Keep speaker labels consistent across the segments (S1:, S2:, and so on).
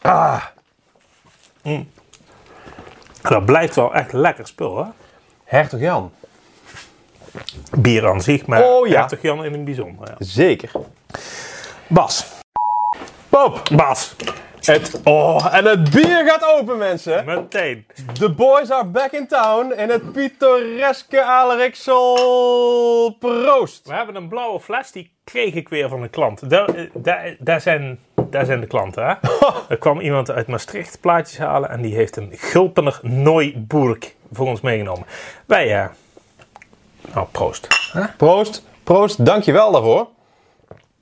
S1: Ah,
S2: Dat blijft wel echt lekker spul, hè?
S1: Hertog Jan.
S2: Bier aan zich, maar
S1: Oh, ja.
S2: Hertog Jan in het bijzonder. ja.
S1: Zeker.
S2: Bas.
S1: Pop,
S2: Bas.
S1: het, oh, en het bier gaat open, mensen.
S2: Meteen.
S1: The boys are back in town in het pittoreske Aleriksel. Proost.
S2: We hebben een blauwe fles, die kreeg ik weer van een klant. Daar, eh, daar, daar zijn, daar zijn de klanten, hè? Er kwam iemand uit Maastricht plaatjes halen en die heeft een gulpener Neuburg voor ons meegenomen. Wij, ja. nou, proost.
S1: Proost, proost. Dankjewel daarvoor.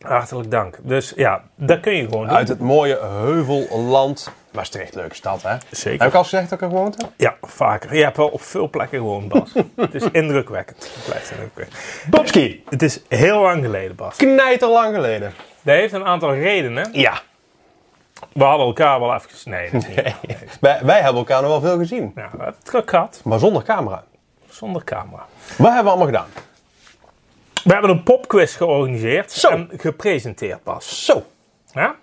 S2: Hartelijk dank. Dus ja, dat kun je gewoon doen.
S1: Uit het mooie Heuvelland. Maastricht, leuke stad, hè?
S2: Zeker.
S1: Heb ik al gezegd dat ik er gewoond heb?
S2: Ja, vaker. Je hebt wel op veel plekken gewoon, Bas. het is indrukwekkend. Het blijft indrukwekkend.
S1: Bobski,
S2: Het is heel lang geleden, Bas.
S1: knijter lang geleden.
S2: Dat heeft een aantal redenen.
S1: Ja.
S2: We hadden elkaar wel even gesneden. dat is niet waar. Nee.
S1: Wij, wij hebben elkaar nog wel veel gezien,
S2: Ja, we hebben het druk gehad,
S1: maar zonder camera.
S2: zonder camera.
S1: Wat hebben we allemaal gedaan?
S2: We hebben een popquiz georganiseerd
S1: Zo.
S2: en gepresenteerd, Bas.
S1: Zo.
S2: Ja?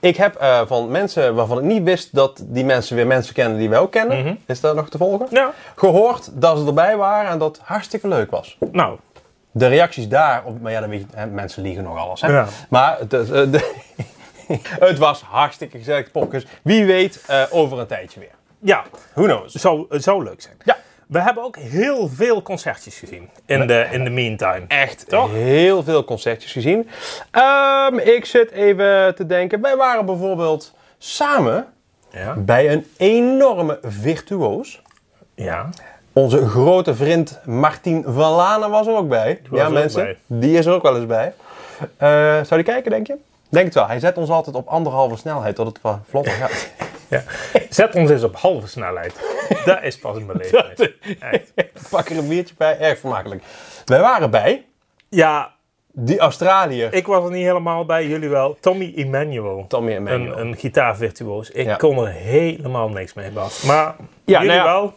S1: Ik heb eh, van mensen waarvan ik niet wist dat die mensen weer mensen kennen die wij ook kennen. Is dat nog te volgen?
S2: Mhm. Ja.
S1: Gehoord dat ze erbij waren en dat het hartstikke leuk was.
S2: Nou,
S1: De reacties daarop, maar ja, dan weet je, hè, mensen liegen nog alles. Hè?
S2: Ja.
S1: Maar het, is, eh, de- het was hartstikke gezellig, popkes. Wie weet eh, over een tijdje weer.
S2: ja,
S1: Who knows?
S2: zou, het zou leuk zijn.
S1: Ja,
S2: We hebben ook heel veel concertjes gezien in de, in de meantime.
S1: echt
S2: Toch?
S1: heel veel concertjes gezien. Ehm, ik zit even te denken. Wij waren bijvoorbeeld samen
S2: Ja.
S1: bij een enorme virtuoos.
S2: ja.
S1: Onze grote vriend Martin van Lanen was er ook bij.
S2: was
S1: ja,
S2: er ook
S1: mensen,
S2: bij.
S1: die is er ook wel eens bij. Eh, zou die kijken, denk je? Denk het wel. Hij zet ons altijd op anderhalve snelheid, tot het wat vlotter gaat.
S2: ja. Zet ons eens op halve snelheid. dat is pas een beleving. Echt.
S1: Pak er een biertje bij, erg vermakelijk. Wij waren bij
S2: Ja,
S1: die Australiër.
S2: ik was er niet helemaal bij, jullie wel. Tommy Emmanuel.
S1: Tommy en
S2: Een, een gitaarvirtuoos. Ik
S1: Ja.
S2: kon er helemaal niks mee, Bas. Maar
S1: Ja,
S2: jullie
S1: nou ja.
S2: wel?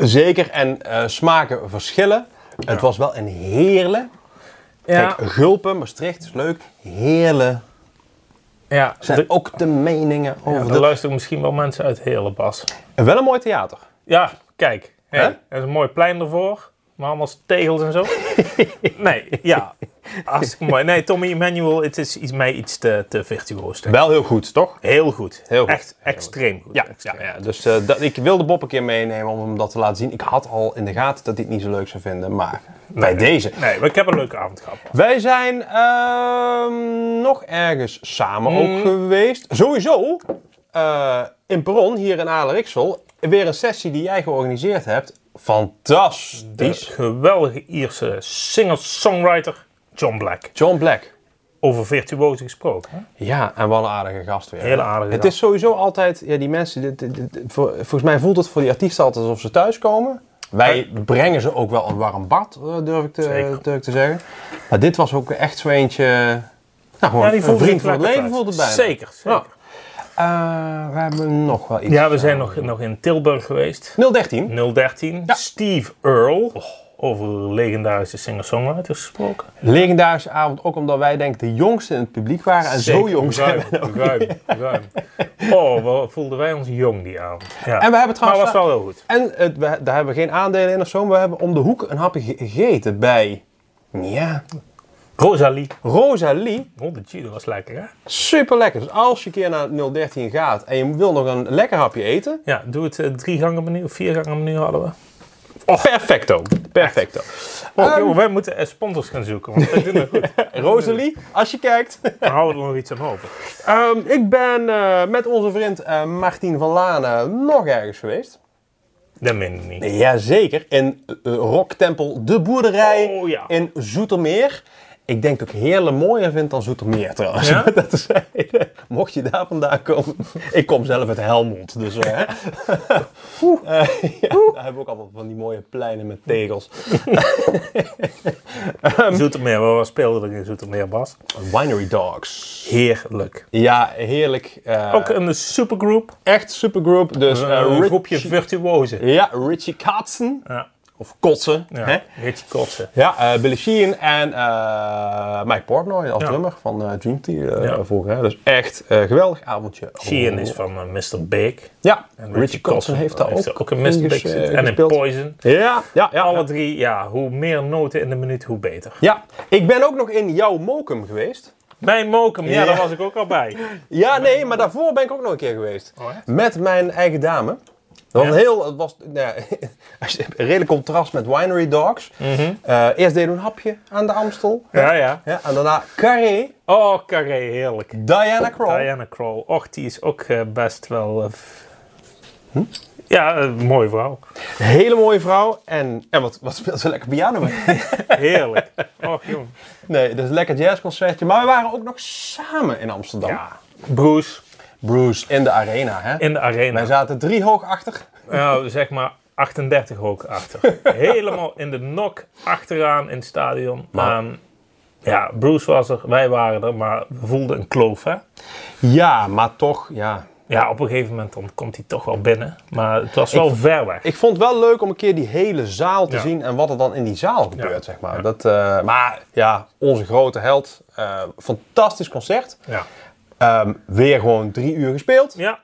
S1: Zeker, en eh, smaken verschillen. Het was wel een heerle.
S2: Ja.
S1: Kijk, Gulpen, Maastricht is leuk. Heerle.
S2: ja.
S1: Zijn Oh,
S2: de-
S1: ook de meningen
S2: Ja,
S1: over
S2: er
S1: de...
S2: luisteren misschien wel mensen uit Hele Bas.
S1: Wel een mooi theater.
S2: Ja, kijk. Hey,
S1: Hè?
S2: Er is een mooi plein ervoor. Maar allemaal tegels en zo. nee, ja. Hartstikke mooi. Nee, Tommy Emmanuel, het is iets, mij iets te, te virtuoos. denk ik.
S1: Wel heel goed, toch?
S2: Heel goed.
S1: Heel goed.
S2: Echt extreem goed.
S1: Ja, ja,
S2: Extreem.
S1: ja, dus eh, dat, ik wilde Bob een keer meenemen om hem dat te laten zien. Ik had al in de gaten dat hij het niet zo leuk zou vinden, maar bij deze.
S2: Nee, maar ik heb een leuke avond gehad.
S1: Wij zijn ehm, nog ergens samen
S2: Mm.
S1: ook geweest. Sowieso eh, in Peron, hier in Aleriksel, weer een sessie die jij georganiseerd hebt.
S2: De
S1: Fantastisch.
S2: geweldige Ierse singer-songwriter John Black.
S1: John Black.
S2: Over virtuozen gesproken. hè?
S1: Ja, en wat een aardige gast weer.
S2: Hele aardige
S1: Het
S2: gast.
S1: is sowieso altijd, ja, die mensen, dit- dit- dit- voor- volgens mij voelt het voor die artiesten altijd alsof ze thuiskomen. Wij brengen ze ook wel een warm bad, eh, durf ik te,
S2: Zeker.
S1: durf ik te zeggen. Maar dit was ook echt zo eentje, nou gewoon
S2: Ja, die
S1: een
S2: voelde
S1: vriend
S2: zich
S1: van het
S2: lekker
S1: leven
S2: thuis.
S1: voelde bij.
S2: Zeker, zeker.
S1: Ja. we hebben nog wel iets.
S2: Ja, we zijn nog, nog in Tilburg geweest.
S1: 013.
S2: 013.
S1: Ja.
S2: Steve Earle. Oh, Over legendarische singer-songwriters gesproken.
S1: Legendarische avond, ook omdat wij denk ik de jongste in het publiek waren. En zo jong zijn we.
S2: ruim, ruim, ruim. Oh, wat voelden wij ons jong die avond. Ja.
S1: En we hebben
S2: maar
S1: trouwens...
S2: was wel heel goed.
S1: En het- we, daar hebben we geen aandelen in of zo, maar we hebben om de hoek een hapje ge- gegeten bij... Ja,
S2: Rosalie.
S1: Rosalie,
S2: Oh, de Giro was lekker, hè?
S1: super lekker. Dus als je een keer naar 013 gaat en je wil nog een lekker hapje eten,
S2: Ja, doe het eh, drie gangen menu, vier gangen menu hadden we.
S1: perfecto. Perfecto.
S2: Oh, joh, wij moeten eh, sponsors gaan zoeken, want wij doen het goed.
S1: Rosalie, als je kijkt.
S2: We houden er nog iets aan over.
S1: Ehm, ik ben eh, met onze vriend eh, Martien van Lanen nog ergens geweest.
S2: Dat meen ik niet.
S1: Jazeker, in eh, Rocktempel De Boerderij
S2: Oh, ja.
S1: in Zoetermeer. Ik denk dat ik Heerlen mooier vind dan Zoetermeer trouwens.
S2: Ja?
S1: Dat is, mocht je daar vandaan komen. Ik kom zelf uit Helmond, dus eh, hè. Eh, ja, daar hebben we ook allemaal van die mooie pleinen met tegels.
S2: Ehm. Zoetermeer, wat speelde er in Zoetermeer, Bas?
S1: Winery Dogs.
S2: Heerlijk.
S1: Ja, heerlijk. eh,
S2: Ook een supergroep.
S1: echt supergroup. Dus eh,
S2: Een
S1: Richie-
S2: groepje virtuozen.
S1: Ja, Richie Katzen.
S2: Ja.
S1: Of kotsen.
S2: Ja,
S1: Hè?
S2: Richie Kotsen.
S1: Ja, eh, Billy Sheehan en eh, Mike Portnoy als
S2: Ja.
S1: drummer van eh, Dream Theater eh,
S2: Ja.
S1: vroeger. Hè? Dus echt eh, geweldig avondje. Oh.
S2: Sheehan is van eh, Mr. Big.
S1: Ja,
S2: En
S1: Richie Kotzen heeft daar ook,
S2: een Mr. Big
S1: ges-
S2: zitten.
S1: eh,
S2: En in
S1: gespeeld.
S2: Poison.
S1: Ja, ja, ja.
S2: Alle drie, ja, hoe meer noten in de minuut, hoe beter.
S1: Ja, ik ben ook nog in jouw Mokum geweest.
S2: Bij Mokum, ja,
S1: Ja.
S2: daar was ik ook al bij.
S1: Ja, nee, maar daarvoor ben ik ook nog een keer geweest.
S2: Oh, echt?
S1: Met mijn eigen dame. Dat was
S2: Ja.
S1: een heel, het was nou ja, als je- een redelijk contrast met Winery Dogs. Eh, eerst deden we een hapje aan de Amstel.
S2: Mhm. Ja, ja.
S1: Ja, en daarna Carré,
S2: Oh, carré, heerlijk.
S1: Diana Kroll.
S2: Diana Kroll. Och, die is ook eh, best wel... eh, f-
S1: Hm?
S2: Ja, eh, mooie vrouw.
S1: Hele mooie vrouw. En, en wat, wat speelt ze lekker piano mee.
S2: Heerlijk. Och, jong.
S1: nee, dus een lekker jazzconcertje. Maar we waren ook nog samen in Amsterdam.
S2: Ja. Bruce
S1: Bruce in de arena, hè.
S2: in de
S1: Wij
S2: arena.
S1: zaten drie hoog achter.
S2: Nou, zeg maar 38 ook achter. Helemaal in de nok achteraan in het stadion. Ehm, ja, Bruce was er, wij waren er, maar we voelden een kloof, hè.
S1: Ja, maar toch, ja.
S2: Ja, op een gegeven moment dan komt hij toch wel binnen. Maar het was wel ver weg.
S1: Ik vond het wel leuk om een keer die hele zaal te
S2: Ja.
S1: zien en wat er dan in die zaal gebeurt,
S2: Ja.
S1: zeg maar. Dat, eh, maar ja, onze grote held. eh, fantastisch concert.
S2: Ja.
S1: Ehm, weer gewoon drie uur gespeeld.
S2: Ja,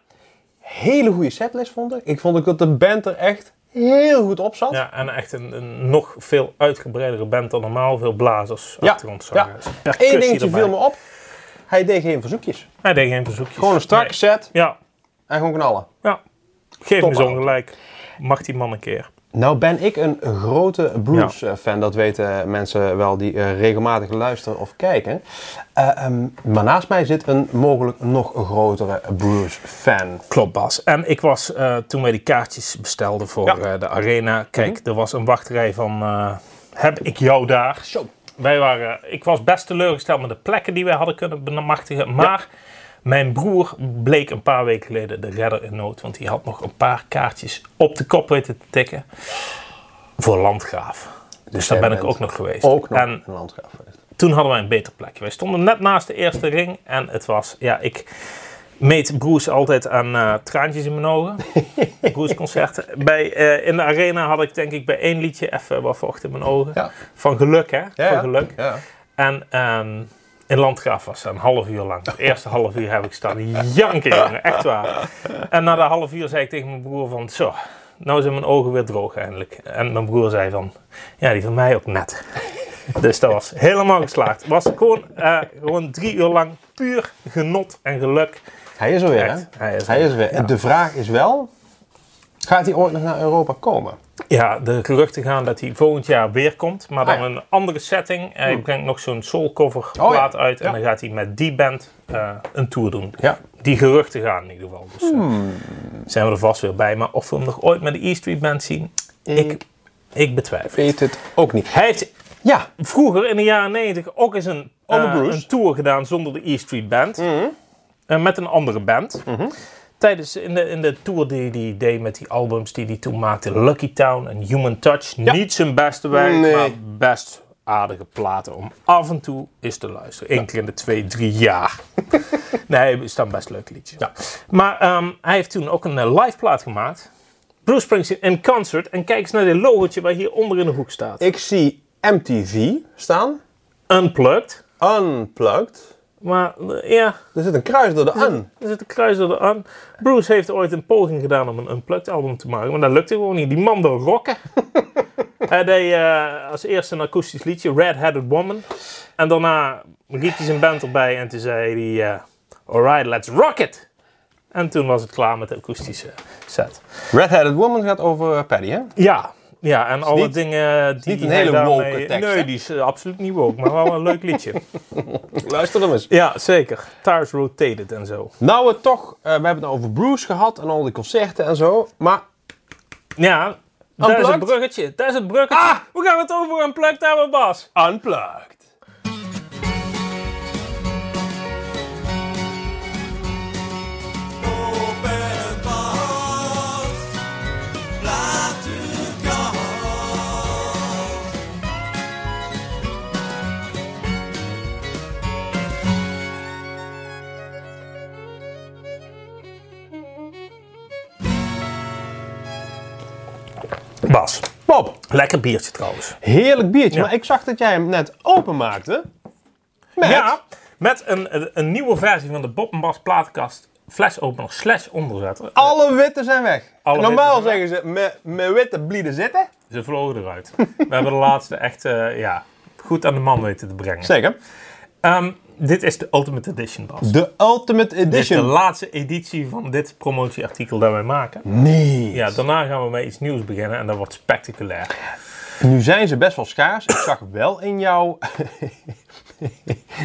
S1: Hele goede setlist vond ik. Ik vond ook dat de band er echt heel goed op zat.
S2: ja en echt een, een nog veel uitgebreidere band dan normaal. Veel blazers,
S1: Ja,
S2: achtergrondzangers.
S1: ja.
S2: eh, percussie
S1: Eén dingetje
S2: erbij.
S1: viel me op. Hij deed geen verzoekjes.
S2: Hij deed geen verzoekjes.
S1: Gewoon een strak
S2: Nee.
S1: set
S2: Ja,
S1: en gewoon knallen.
S2: ja. Geef
S1: Top
S2: me zo'n
S1: auto.
S2: gelijk. Mag die man een keer.
S1: Nou ben ik een grote Bruce-fan. Dat weten mensen wel die eh, regelmatig luisteren of kijken. Eh, ehm, maar naast mij zit een mogelijk nog grotere Bruce-fan.
S2: Klopt, Bas. En ik was, eh, toen wij die kaartjes bestelden voor
S1: Ja. Mhm.
S2: eh, de arena... Kijk, er was een wachtrij van... eh, heb ik jou daar?
S1: Zo.
S2: Wij waren, ik was best teleurgesteld met de plekken die wij hadden kunnen bemachtigen. Maar mijn broer bleek een paar weken geleden de redder in nood. Want die had nog een paar kaartjes op de kop weten te tikken. Voor Landgraaf. Dus daar
S1: jij
S2: ben ik
S1: bent
S2: ook nog geweest.
S1: Ook nog
S2: En
S1: een landgraaf. geweest.
S2: toen hadden wij een beter plekje. Wij stonden net naast de eerste ring. En het was, ja, ik meet Bruce altijd aan eh, traantjes in mijn ogen. Bruce concerten. Bij, eh, in de arena had ik denk ik bij één liedje even wat vocht in mijn ogen.
S1: Ja.
S2: Van geluk, hè?
S1: Ja,
S2: Van
S1: ja.
S2: geluk.
S1: Ja.
S2: En ehm, in Landgraaf was ze een half uur lang. Het eerste half uur heb ik staan janken, jongen. Echt waar. En na de half uur zei ik tegen mijn broer van... Zo, nou zijn mijn ogen weer droog eindelijk. En mijn broer zei van... Ja, die van mij ook net. Dus dat was helemaal geslaagd. Het was gewoon, eh, gewoon drie uur lang puur genot en geluk.
S1: Hij is er weer,
S2: Echt,
S1: hè?
S2: hij is er.
S1: hij is er weer. En de vraag is wel, gaat hij ooit nog naar Europa komen?
S2: Ja, de geruchten gaan dat hij volgend jaar weer komt. Maar dan
S1: Ah, ja. Hmm. Oh,
S2: een andere setting. Hij brengt nog zo'n soulcover
S1: ja.
S2: plaat uit. En
S1: Ja.
S2: dan gaat hij met die band eh, een tour doen.
S1: Ja. Hmm.
S2: Die geruchten gaan in ieder geval. Dus eh, zijn we er vast weer bij. Maar of we hem nog ooit met de E Street Band zien, ik,
S1: Ik-
S2: ik betwijfel.
S1: Weet het ook niet.
S2: Hij heeft
S1: Ja,
S2: vroeger in de jaren 90 ook eens een,
S1: Onder
S2: eh,
S1: Bruce. Mhm.
S2: een tour gedaan zonder de E Street Band. Eh, met een andere band. Tijdens in de, in de tour die hij deed met die albums die hij toen maakte, Lucky Town en Human Touch. Niet zijn beste werk,
S1: Nee.
S2: maar best aardige platen om af en toe eens te luisteren. Eén keer in de twee, drie jaar. nee, is dan best leuk liedje. Maar ehm, hij heeft toen ook een eh, live plaat gemaakt. Bruce Springsteen in concert. En kijk eens naar dit logotje waar hieronder in de hoek staat.
S1: ik zie MTV staan.
S2: Unplugged.
S1: Unplugged.
S2: Maar eh, ja,
S1: Er zit een kruis door de un.
S2: er zit een kruis door de aan. Bruce heeft ooit een poging gedaan om een unplugged album te maken, maar dat lukte gewoon niet. Die man wil rocken. hij deed eh, als eerste een akoestisch liedje, Red-Headed Woman. En daarna riep hij zijn band erbij en toen zei hij, eh, alright, let's rock it. En toen was het klaar met de akoestische set.
S1: Red-Headed Woman gaat over eh, Paddy, hè?
S2: Ja, ja en alle
S1: niet-
S2: dingen die
S1: niet een
S2: hij
S1: hele
S2: daarmee-
S1: woke tekst,
S2: Nee,
S1: hè?
S2: die is eh, absoluut niet woke, maar wel een leuk liedje.
S1: Luister dan eens.
S2: Ja, zeker. Tires Rotated en zo.
S1: Nou, we toch, eh, we hebben het nou over Bruce gehad en al die concerten en zo. Maar
S2: Ja, daar is het
S1: Unplugged?
S2: bruggetje. Daar is het bruggetje.
S1: Ah!
S2: Hoe gaan we het over een plug daar met Bas?
S1: Unplugged.
S2: Bas,
S1: Pop,
S2: Lekker biertje trouwens.
S1: heerlijk biertje.
S2: Ja.
S1: Maar ik zag dat jij hem net openmaakte. Met...
S2: Ja, met een, een nieuwe versie van de Bob en Bas platenkast flesopener slash onderzetter.
S1: Alle witte zijn weg.
S2: Alle
S1: Normaal
S2: witte
S1: zeggen ze, met, met witte blieden zitten.
S2: Ze vlogen eruit. We hebben de laatste echt eh, ja, goed aan de man weten te brengen.
S1: Zeker.
S2: Ehm, dit is de Ultimate Edition, Bas.
S1: De Ultimate
S2: Dit is de
S1: Edition.
S2: laatste editie van dit promotieartikel dat wij maken.
S1: Nee.
S2: Ja, daarna gaan we met iets nieuws beginnen en dat wordt spectaculair.
S1: Nu zijn ze best wel schaars. Ik zag wel in jouw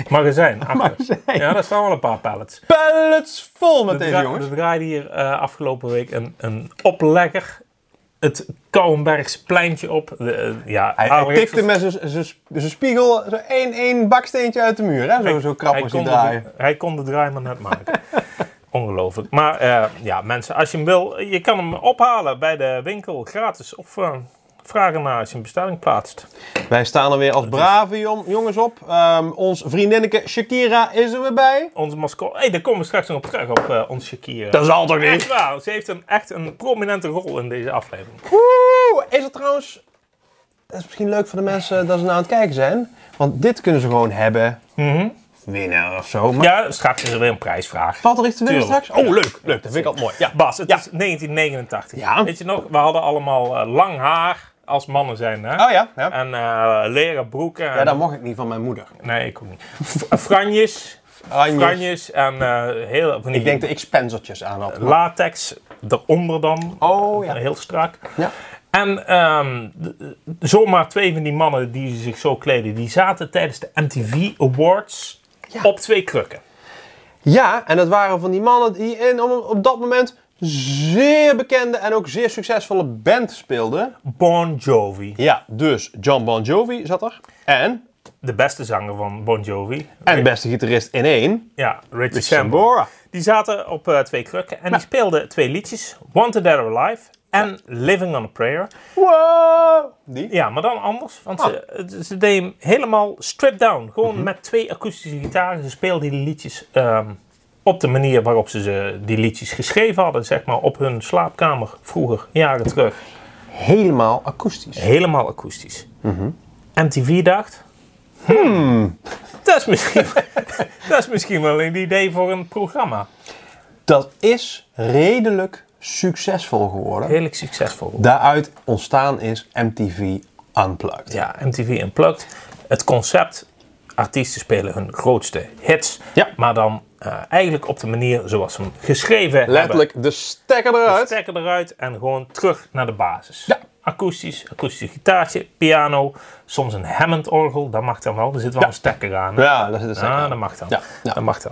S2: Magazijn. achter.
S1: magazijn
S2: Ja, daar staan wel een paar pallets.
S1: pallets vol met
S2: We
S1: deze
S2: draa-
S1: jongens.
S2: We draaiden hier eh, afgelopen week een, een oplegger. Het Kouwenbergs pleintje op. De, eh, ja,
S1: Hij, hij tikte met zijn- zijn- zijn spiegel zo één, één baksteentje uit de muur. Hè? Zo, zo krap
S2: hij
S1: was hij
S2: kon de-
S1: draaien.
S2: Hij kon de draai maar net maken. Ongelooflijk. Maar eh, ja, mensen, als je hem wil, je kan hem ophalen bij de winkel gratis. Of eh, vragen naar als je een bestelling plaatst.
S1: Wij staan er weer als brave jong- jongens op. Ehm, ons vriendinneke Shakira is er weer bij.
S2: Onze mascotte. Hey, daar komen we straks nog op terug op eh ons Shakira.
S1: zal toch
S2: Echt waar, ze heeft een, echt een prominente rol in deze aflevering.
S1: Oeh, is het trouwens... Dat is misschien leuk voor de mensen dat ze nou aan het kijken zijn. Want dit kunnen ze gewoon hebben. Winnen of zo. Maar
S2: Ja, straks is er weer een prijsvraag.
S1: valt er iets te winnen
S2: Tuurlijk.
S1: straks? Oh, leuk. Leuk, dat vind ik altijd mooi. Ja.
S2: Bas, het
S1: Ja.
S2: is 1989.
S1: Ja.
S2: Weet je nog, we hadden allemaal eh, lang haar als mannen zijn. Hè?
S1: Oh ja, ja.
S2: En eh, leren broeken.
S1: Ja, dat mocht ik niet van mijn moeder.
S2: Nee, ik ook niet. F- franjes.
S1: Franjes.
S2: Franjes en eh, heel van die
S1: Ik denk dat ik spencertjes aan had.
S2: latex eronder dan.
S1: Oh ja.
S2: Heel strak.
S1: Ja.
S2: En ehm, d- d- zomaar twee van die mannen die zich zo kleden, die zaten tijdens de MTV Awards op twee krukken.
S1: Ja, en dat waren van die mannen die in op, op dat moment zeer bekende en ook zeer succesvolle band speelden.
S2: Bon Jovi,
S1: Ja, dus John Bon Jovi zat er. En,
S2: de beste zanger van Bon Jovi.
S1: en de beste gitarist in één,
S2: Ja, Richie Sambora.
S1: Sambora.
S2: Die zaten op eh, twee krukken en die speelden twee liedjes. Wanted Dead or Alive en Living on a Prayer.
S1: Wow! Die?
S2: Ja, maar dan anders. Want
S1: Ah.
S2: ze, eh, ze deden hem helemaal stripped down. Gewoon met twee akoestische gitaren. Ze speelden die liedjes ehm, op de manier waarop ze, ze die liedjes geschreven hadden. Zeg maar op hun slaapkamer vroeger, jaren terug.
S1: Helemaal akoestisch.
S2: Helemaal akoestisch. MTV dacht... Hmm. Dat, is misschien, dat is misschien wel een idee voor een programma.
S1: Dat is redelijk succesvol geworden.
S2: Redelijk succesvol.
S1: Daaruit ontstaan is MTV Unplugged.
S2: Ja, MTV Unplugged. Het concept, artiesten spelen hun grootste hits.
S1: Ja.
S2: Maar dan eh, eigenlijk op de manier zoals ze hem geschreven hebben.
S1: Letterlijk de stekker eruit.
S2: Stekker eruit en gewoon terug naar de basis.
S1: Ja.
S2: Akoestisch, akoestisch gitaartje, piano, soms een Hammond-orgel. Dat mag dan wel, er zit wel een stekker aan. hè?
S1: Ja, dat is de stekker.
S2: Ah, dat mag dan.
S1: Ja, ja.
S2: Dat mag dan.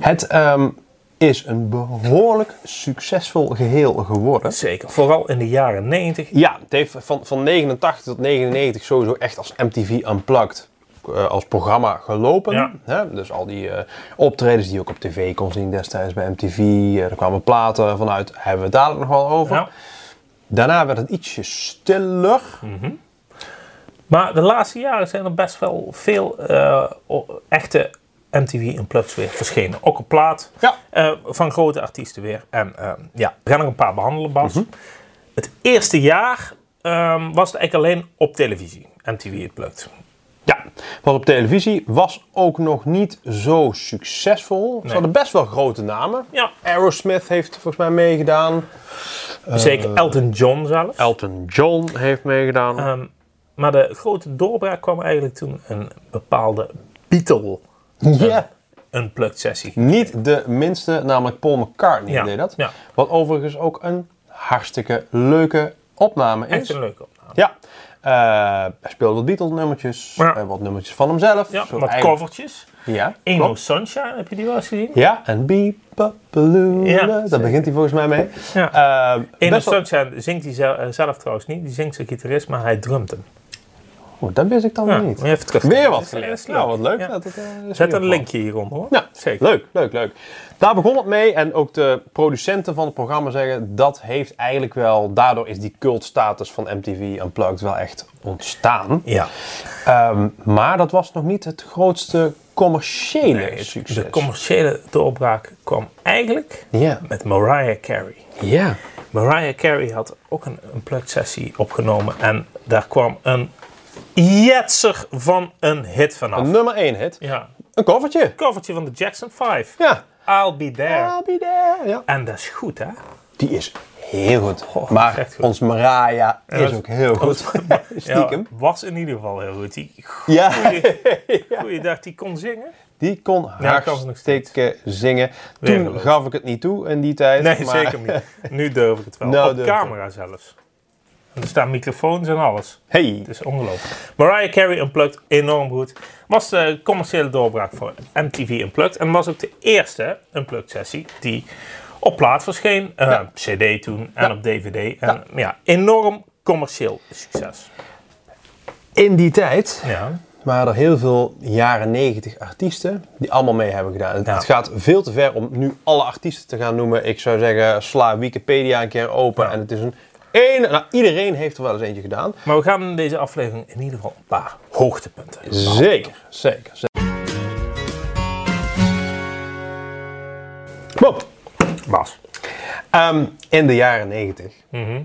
S1: Het ehm, is een behoorlijk succesvol geheel geworden.
S2: Zeker, vooral in de jaren 90.
S1: Ja, het heeft van, van 89 tot 99 sowieso echt als MTV Unplugged eh, als programma gelopen.
S2: Ja.
S1: Hè? Dus al die eh, optredens die je ook op tv kon zien destijds bij MTV. eh, er kwamen platen vanuit, hebben we het dadelijk nog wel over.
S2: Ja.
S1: Daarna werd het ietsje stiller.
S2: Maar de laatste jaren zijn er best wel veel eh, o- echte MTV Unplugged weer verschenen. Ook op plaat.
S1: Ja.
S2: Eh, van grote artiesten weer. En ehm, ja, we gaan er een paar behandelen, Bas.
S1: Mhm.
S2: Het eerste jaar ehm, was het eigenlijk alleen op televisie. MTV Unplugged.
S1: Ja, was op televisie, was ook nog niet zo succesvol. Ze hadden best wel grote namen.
S2: Ja,
S1: Aerosmith heeft volgens mij meegedaan. Eh,
S2: zeker Elton John zelf.
S1: Elton John heeft meegedaan.
S2: Ehm, maar de grote doorbraak kwam eigenlijk toen een bepaalde Beatle
S1: Ja.
S2: Unplugged sessie.
S1: Niet de minste, namelijk Paul McCartney
S2: Ja,
S1: deed dat.
S2: ja.
S1: Wat overigens ook een hartstikke leuke opname
S2: Echt
S1: is.
S2: een leuke opname.
S1: Ja. Eh, hij speelde wat Beatles nummertjes,
S2: Ja.
S1: eh, wat nummertjes van hemzelf.
S2: Ja,
S1: Zo
S2: wat
S1: eigenlijk-
S2: covertjes.
S1: Ja,
S2: Emo
S1: klopt.
S2: Sunshine, heb je die wel eens gezien?
S1: Ja, en Beep, Bop, Balloon.
S2: Ja,
S1: Daar
S2: zeker.
S1: begint hij volgens mij mee.
S2: Ja.
S1: Eh,
S2: In de
S1: best wel-
S2: Sunshine zingt hij zelf, eh, zelf trouwens niet. Die zingt zijn gitarist, maar hij drumt hem.
S1: Oeh, Oh, dat wist ik dan
S2: Ja,
S1: weer niet.
S2: moet je even terug.
S1: Weer wat
S2: Dat is- dat
S1: geleerd.
S2: is
S1: Nou, wat leuk.
S2: Ja.
S1: Dat het, eh, is weer
S2: Zet een
S1: opgevallen.
S2: linkje hieronder hoor.
S1: Ja,
S2: zeker.
S1: Leuk, leuk, leuk. Daar begon het mee en ook de producenten van het programma zeggen dat heeft eigenlijk wel, daardoor is die cultstatus van MTV Unplugged wel echt ontstaan.
S2: Ja.
S1: Ehm, maar dat was nog niet het grootste commerciële
S2: Nee, het-
S1: succes.
S2: De commerciële doorbraak kwam eigenlijk
S1: ja.
S2: met Mariah Carey.
S1: ja.
S2: Mariah Carey had ook een, een plugsessie opgenomen en daar kwam een jetser van een hit vanaf.
S1: Nummer 1 hit.
S2: Ja,
S1: Een koffertje.
S2: covertje van de Jackson 5.
S1: Ja.
S2: I'll be there.
S1: I'll be there. Ja.
S2: En dat is goed, hè?
S1: Die is heel goed.
S2: Goh,
S1: maar
S2: Oh, echt goed.
S1: ons Mariah is
S2: dat-
S1: ook heel goed. Stiekem.
S2: Ja, was in ieder geval heel goed. Die goeie,
S1: Ja.
S2: goeie dag, die kon zingen.
S1: Die kon
S2: Ja, kan ze nog steeds.
S1: hartstikke zingen.
S2: Weer
S1: Toen
S2: geloof.
S1: gaf ik het niet toe in die tijd.
S2: Nee,
S1: maar-
S2: zeker niet. Nu durf ik het wel.
S1: Nou,
S2: Op
S1: durf ik
S2: camera zelfs. En er staan microfoons en alles.
S1: Hey.
S2: Het is ongelooflijk. Mariah Carey Unplugged, enorm goed. Was de commerciële doorbraak voor MTV Unplugged. En was ook de eerste Unplugged sessie die op plaat verscheen. Eh, CD toen en op DVD. En ja. enorm commercieel succes.
S1: In die tijd
S2: Ja.
S1: waren er heel veel jaren 90 artiesten die allemaal mee hebben gedaan. Het-
S2: Ja.
S1: Het gaat veel te ver om nu alle artiesten te gaan noemen. Ik zou zeggen, sla Wikipedia een keer open. En het is een... Een, nou, iedereen heeft er wel eens eentje gedaan.
S2: Maar we gaan in deze aflevering in ieder geval een paar hoogtepunten.
S1: Zeker, zeker, zeker. Bob,
S2: Bas.
S1: ehm, in de jaren 90
S2: Mhm.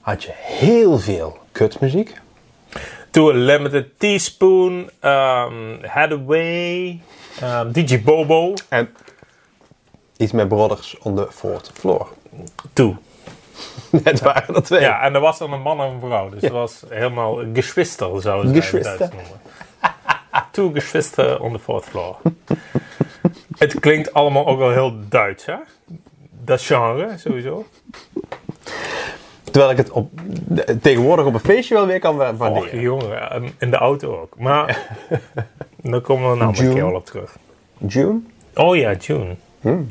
S1: had je heel veel kutmuziek.
S2: To a Limited Teaspoon. ehm Hathaway. ehm, DJ Bobo.
S1: En iets met Brothers on the Fourth Floor.
S2: Toe.
S1: Het waren er twee.
S2: Ja, en er was dan een man en een vrouw. Dus het was helemaal geschwister, zouden ze het in het
S1: Geschwister.
S2: Duits noemen. Two geschwister on the fourth floor. het klinkt allemaal ook wel heel Duits, hè? Dat genre, sowieso.
S1: Terwijl ik het op, tegenwoordig op een feestje wel weer kan wa-
S2: Och,
S1: waarderen.
S2: jongen, en in de auto ook. Maar daar komen we een andere
S1: June.
S2: keer wel op terug.
S1: June?
S2: Oh ja, June.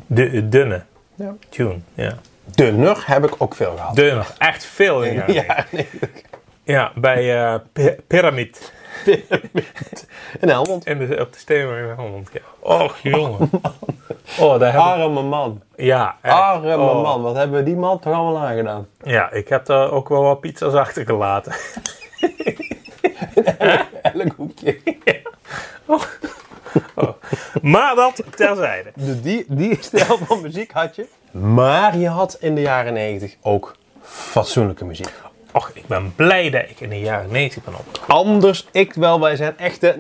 S2: De eh, dunne.
S1: Hmm. Ja.
S2: June, ja.
S1: Dunner heb ik ook veel gehad.
S2: Dunne, echt veel in de jaren negentig.
S1: Ja, nee.
S2: Ja, bij eh Pi- Pyramid.
S1: In Helmond.
S2: En de, op de steenweg in Helmond. Ja. Och, jongen. Oh, daar heb ik...
S1: Arme man.
S2: Ja, echt.
S1: Arme
S2: Oh.
S1: man. Wat hebben we die man toch allemaal aangedaan?
S2: Ja, ik heb daar ook wel wat pizza's achtergelaten.
S1: Elk hoekje.
S2: Maar dat terzijde.
S1: Dus die, die stijl van muziek had je. Maar je had in de jaren 90 ook fatsoenlijke muziek.
S2: Och, ik ben blij dat ik in de jaren 90 ben opgegroeid.
S1: Anders, ik wel, wij zijn echte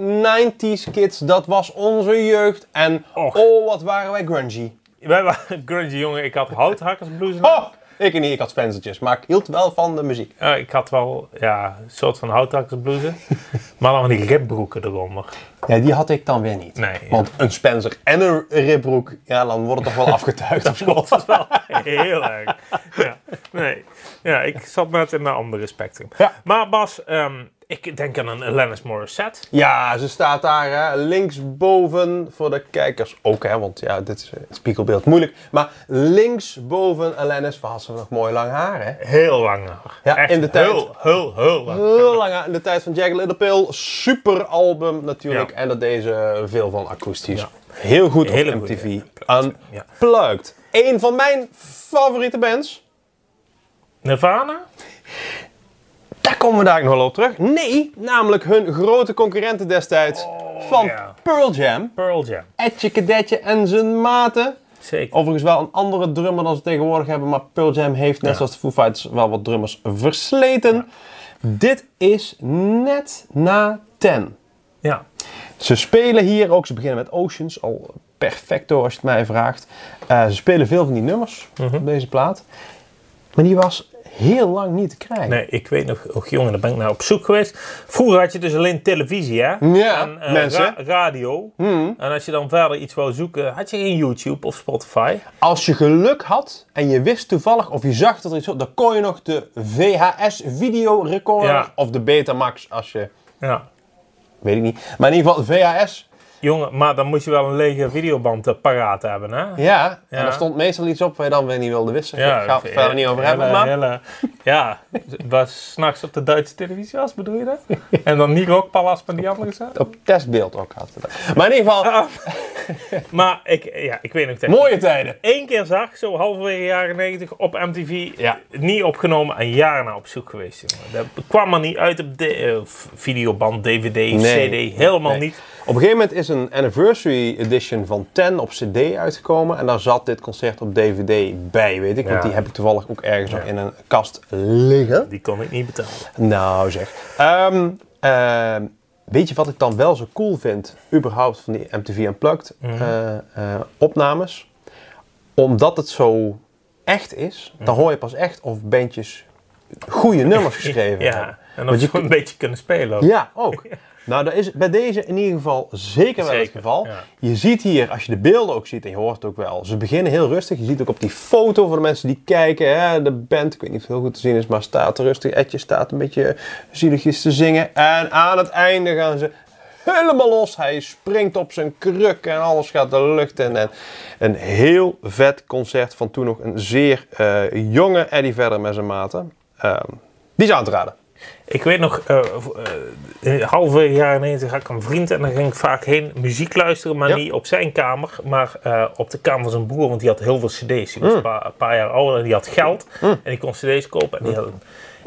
S1: 90s kids. Dat was onze jeugd. En
S2: Och.
S1: oh, wat waren wij grungy.
S2: Wij waren grungy jongen. Ik had houthakkersblues. aan.
S1: Oh, ik niet, ik had spencertjes, maar ik hield wel van de muziek.
S2: Ja, Eh, ik had wel ja, een soort van houthakkersblues. maar dan van die ribbroeken eronder.
S1: Ja, die had ik dan weer niet.
S2: Nee, ja.
S1: Want een Spencer en een ribbroek, ja, dan wordt het toch wel afgetuigd op school.
S2: Dat is wel heel erg. Ja, nee. ja, ik zat net in een andere spectrum.
S1: Ja.
S2: Maar Bas, ehm, ik denk aan een Alanis Morissette.
S1: Ja, ze staat daar hè, linksboven voor de kijkers ook, hè, want ja, dit is eh, het spiegelbeeld moeilijk. Maar linksboven Alanis had ze nog mooi lang haar, hè?
S2: Heel lang haar.
S1: Ja,
S2: Echt
S1: in de tijd-
S2: Heel, heel, heel lang.
S1: Heel lang haar, in de tijd van Jack Little Pill, super album natuurlijk.
S2: Ja.
S1: En dat deze veel van akoestisch. Heel goed op
S2: Hele goede
S1: MTV.
S2: Unplugged, ja.
S1: Unplugged. Een van mijn favoriete bands.
S2: Nirvana?
S1: Daar komen we daar nog wel op terug. Nee, namelijk hun grote concurrenten destijds van
S2: Oh, ja.
S1: Pearl Jam.
S2: Pearl Jam.
S1: Etje Kadetje en zijn maten.
S2: Zeker.
S1: Overigens wel een andere drummer dan ze tegenwoordig hebben, maar Pearl Jam heeft net zoals de Foo Fighters wel wat drummers versleten. Dit is net na 10.
S2: Ja.
S1: Ze spelen hier ook, ze beginnen met Oceans, al perfecto als je het mij vraagt. Eh, ze spelen veel van die nummers
S2: Mhm.
S1: op deze plaat. Maar die was heel lang niet te krijgen.
S2: Nee, ik weet nog, och jongen, daar ben ik naar op zoek geweest. Vroeger had je dus alleen televisie, hè?
S1: Ja,
S2: en, eh,
S1: mensen. Hmm.
S2: ra- radio. En als je dan verder iets wou zoeken, had je geen YouTube of Spotify.
S1: Als je geluk had en je wist toevallig of je zag dat er iets was, dan kon je nog de VHS-videorecorder
S2: Ja.
S1: of de Betamax als je,
S2: Ja.
S1: weet ik niet. Maar in ieder geval de VHS,
S2: Jongen, maar dan moest je wel een lege videoband eh, paraat hebben, hè?
S1: ja.
S2: Ja.
S1: En daar stond meestal iets op waar je dan weer niet wilde wissen. Ik ga het
S2: oké.
S1: verder niet over hebben,
S2: Hele,
S1: maar
S2: hele Ja, waar s'nachts op de Duitse televisie was, bedoel je dat? En dan niet rookpalas, maar die andere zaak?
S1: Op testbeeld ook had. Maar in ieder geval,
S2: Ah. Maar ik, ja, ik weet nog dat ik
S1: mooie tijden.
S2: één keer zag, zo halverwege jaren 90 op MTV.
S1: Ja.
S2: Niet opgenomen en jaren naar op zoek geweest. Jongen. Dat kwam er niet uit op de eh, v- videoband, DVD,
S1: Nee.
S2: CD, helemaal
S1: Nee.
S2: niet.
S1: Op een gegeven moment is een anniversary edition van Ten op CD uitgekomen. En daar zat dit concert op DVD bij, weet ik. Want
S2: Ja.
S1: die heb ik toevallig ook ergens nog in een kast liggen.
S2: Die kon ik niet betalen.
S1: Nou zeg. Ehm, ehm, weet je wat ik dan wel zo cool vind, überhaupt van die MTV Unplugged
S2: Mhm.
S1: eh, eh, opnames? Omdat het zo echt is,
S2: Mhm.
S1: dan hoor je pas echt of bandjes goede nummers geschreven hebben.
S2: Ja, en dat
S1: je
S2: je een beetje kunnen spelen. ook.
S1: Ja, ook. Nou, dat is bij deze in ieder geval zeker wel het
S2: Zeker,
S1: geval.
S2: ja.
S1: Je ziet hier, als je de beelden ook ziet, en je hoort het ook wel, ze beginnen heel rustig. Je ziet ook op die foto voor de mensen die kijken, hè, de band, ik weet niet of het heel goed te zien is, maar staat rustig. Etje staat een beetje zieligjes te zingen. En aan het einde gaan ze helemaal los. Hij springt op zijn kruk en alles gaat de lucht in. En een heel vet concert van toen nog een zeer eh, jonge Eddie Vedder met zijn maten. Ehm, die is aan te raden.
S2: Ik weet nog, eh eh, halverwege jaren 90 had ik een vriend en dan ging ik vaak heen muziek luisteren, maar
S1: Ja.
S2: niet op zijn kamer, maar eh, op de kamer van zijn broer, want die had heel veel cd's. Die
S1: Hmm.
S2: was een, paar, een paar jaar ouder en die had geld en die kon cd's kopen en die
S1: Hmm.
S2: had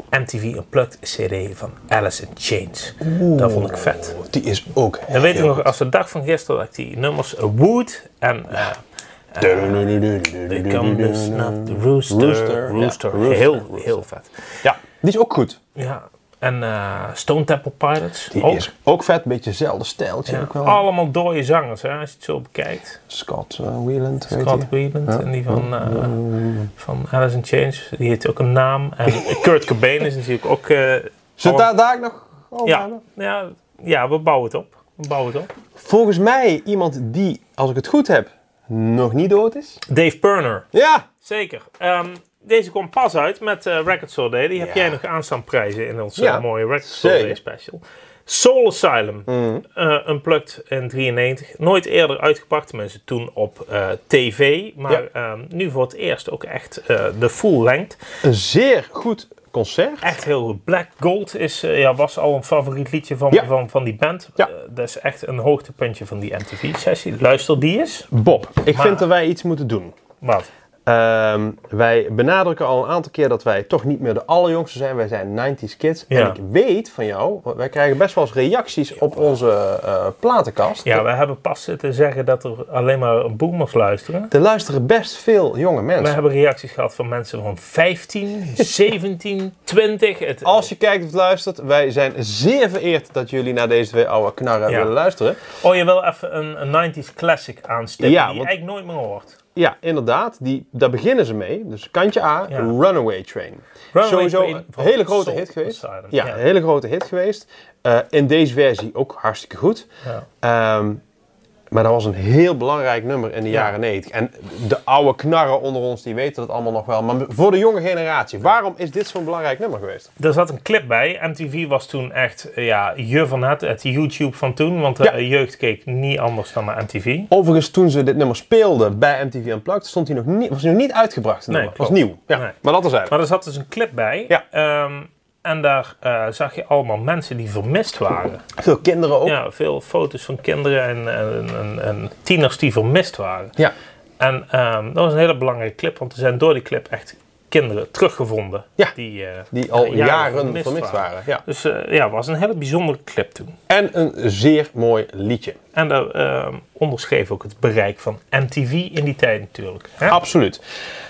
S2: een MTV Unplugged cd van Alice in Chains. Dat vond ik vet.
S1: Die is ook
S2: Dan weet ik nog, als de dag van gisteren, dat ik die nummers eh, Wood en... eh, Come the Snap, the Rooster, Rooster,
S1: Rooster, ja. Rooster,
S2: heel, heel vet.
S1: Ja, die is ook goed.
S2: Ja, en eh, Stone Temple Pilots,
S1: Die
S2: ook
S1: is ook vet, beetje hetzelfde stijltje.
S2: Ja,
S1: Ook wel.
S2: Allemaal dode zangers, hè, als je het zo bekijkt.
S1: Scott eh, Wieland,
S2: Scott
S1: weet je.
S2: Weiland en die van, eh, van Alice in Chains, die heeft ook een naam. En Kurt Cobain is natuurlijk ook... eh,
S1: Zit
S2: alle-
S1: daar, daar ook nog over
S2: ja,
S1: aan?
S2: ja, ja, we bouwen het op. We bouwen het op.
S1: Volgens mij iemand die, als ik het goed heb, nog niet dood is.
S2: Dave Perner,
S1: Ja,
S2: zeker. Ehm, deze kwam pas uit met eh Record Store Day. Die heb
S1: Ja.
S2: jij nog aanstaan prijzen in onze
S1: Ja,
S2: mooie Record Store Day
S1: zeker. Mm.
S2: special. Soul Asylum, eh, unplugged in 93. Nooit eerder uitgepakt, mensen toen op eh, tv. Maar
S1: Ja.
S2: ehm, nu voor het eerst ook echt eh, de full length.
S1: een zeer goed concert.
S2: Echt heel goed. Black Gold is, eh, ja, was al een favoriet liedje van,
S1: Ja.
S2: van, van die band.
S1: Ja.
S2: Eh, dat is echt een hoogtepuntje van die MTV-sessie. Luister die eens.
S1: Bob, ik
S2: Maar-
S1: vind dat wij iets moeten doen.
S2: Wat?
S1: Ehm, wij benadrukken al een aantal keer dat wij toch niet meer de allerjongste zijn. Wij zijn 90s kids.
S2: Ja.
S1: En ik weet van jou, want wij krijgen best wel eens reacties op onze eh, platenkast.
S2: Ja, we hebben pas zitten zeggen dat er alleen maar boomers luisteren.
S1: Er luisteren best veel jonge
S2: We
S1: mensen.
S2: hebben reacties gehad van mensen van 15, 17, 20. Het,
S1: Als je kijkt of luistert, wij zijn zeer vereerd dat jullie naar deze twee oude knarren
S2: Ja.
S1: willen luisteren.
S2: Oh, je wil even een, een 90s classic aanstippen
S1: Ja,
S2: die je
S1: want-
S2: eigenlijk nooit meer hoort.
S1: Ja, inderdaad, die, daar beginnen ze mee. Dus kantje A,
S2: Ja.
S1: Runaway Train.
S2: Runaway
S1: Sowieso
S2: Train
S1: een
S2: van
S1: hele grote
S2: Soul
S1: hit geweest.
S2: Asylum,
S1: Ja,
S2: ja.
S1: een hele grote hit geweest. Eh, in deze versie ook hartstikke goed.
S2: Ja.
S1: Ehm, maar dat was een heel belangrijk nummer in de jaren 90. En de oude knarren onder ons, die weten dat allemaal nog wel. Maar voor de jonge generatie, waarom is dit zo'n belangrijk nummer geweest?
S2: Er zat een clip bij. MTV was toen echt eh, ja, je van het, het YouTube van toen. Want eh, de
S1: Ja.
S2: jeugd keek niet anders dan naar MTV.
S1: Overigens, toen ze dit nummer speelden bij MTV Unplugged, stond hij nog niet, was hij nog niet uitgebracht. Het
S2: Nee,
S1: nummer. was
S2: klopt.
S1: nieuw. Ja,
S2: Nee.
S1: Maar dat is eigenlijk.
S2: Maar er zat dus een clip bij.
S1: Ja.
S2: Ehm, en daar eh, zag je allemaal mensen die vermist waren.
S1: Veel kinderen ook.
S2: Ja, veel foto's van kinderen en, en, en, en tieners die vermist waren.
S1: Ja.
S2: En ehm, dat was een hele belangrijke clip, want er zijn door die clip echt kinderen teruggevonden.
S1: Ja,
S2: die, eh,
S1: Die al jaren, vermist,
S2: vermist
S1: waren. Ja.
S2: Dus eh, ja, het was een hele bijzondere clip toen.
S1: En een zeer mooi liedje.
S2: En dat ehm, onderschreef ook het bereik van MTV in die tijd natuurlijk. Hè?
S1: Absoluut.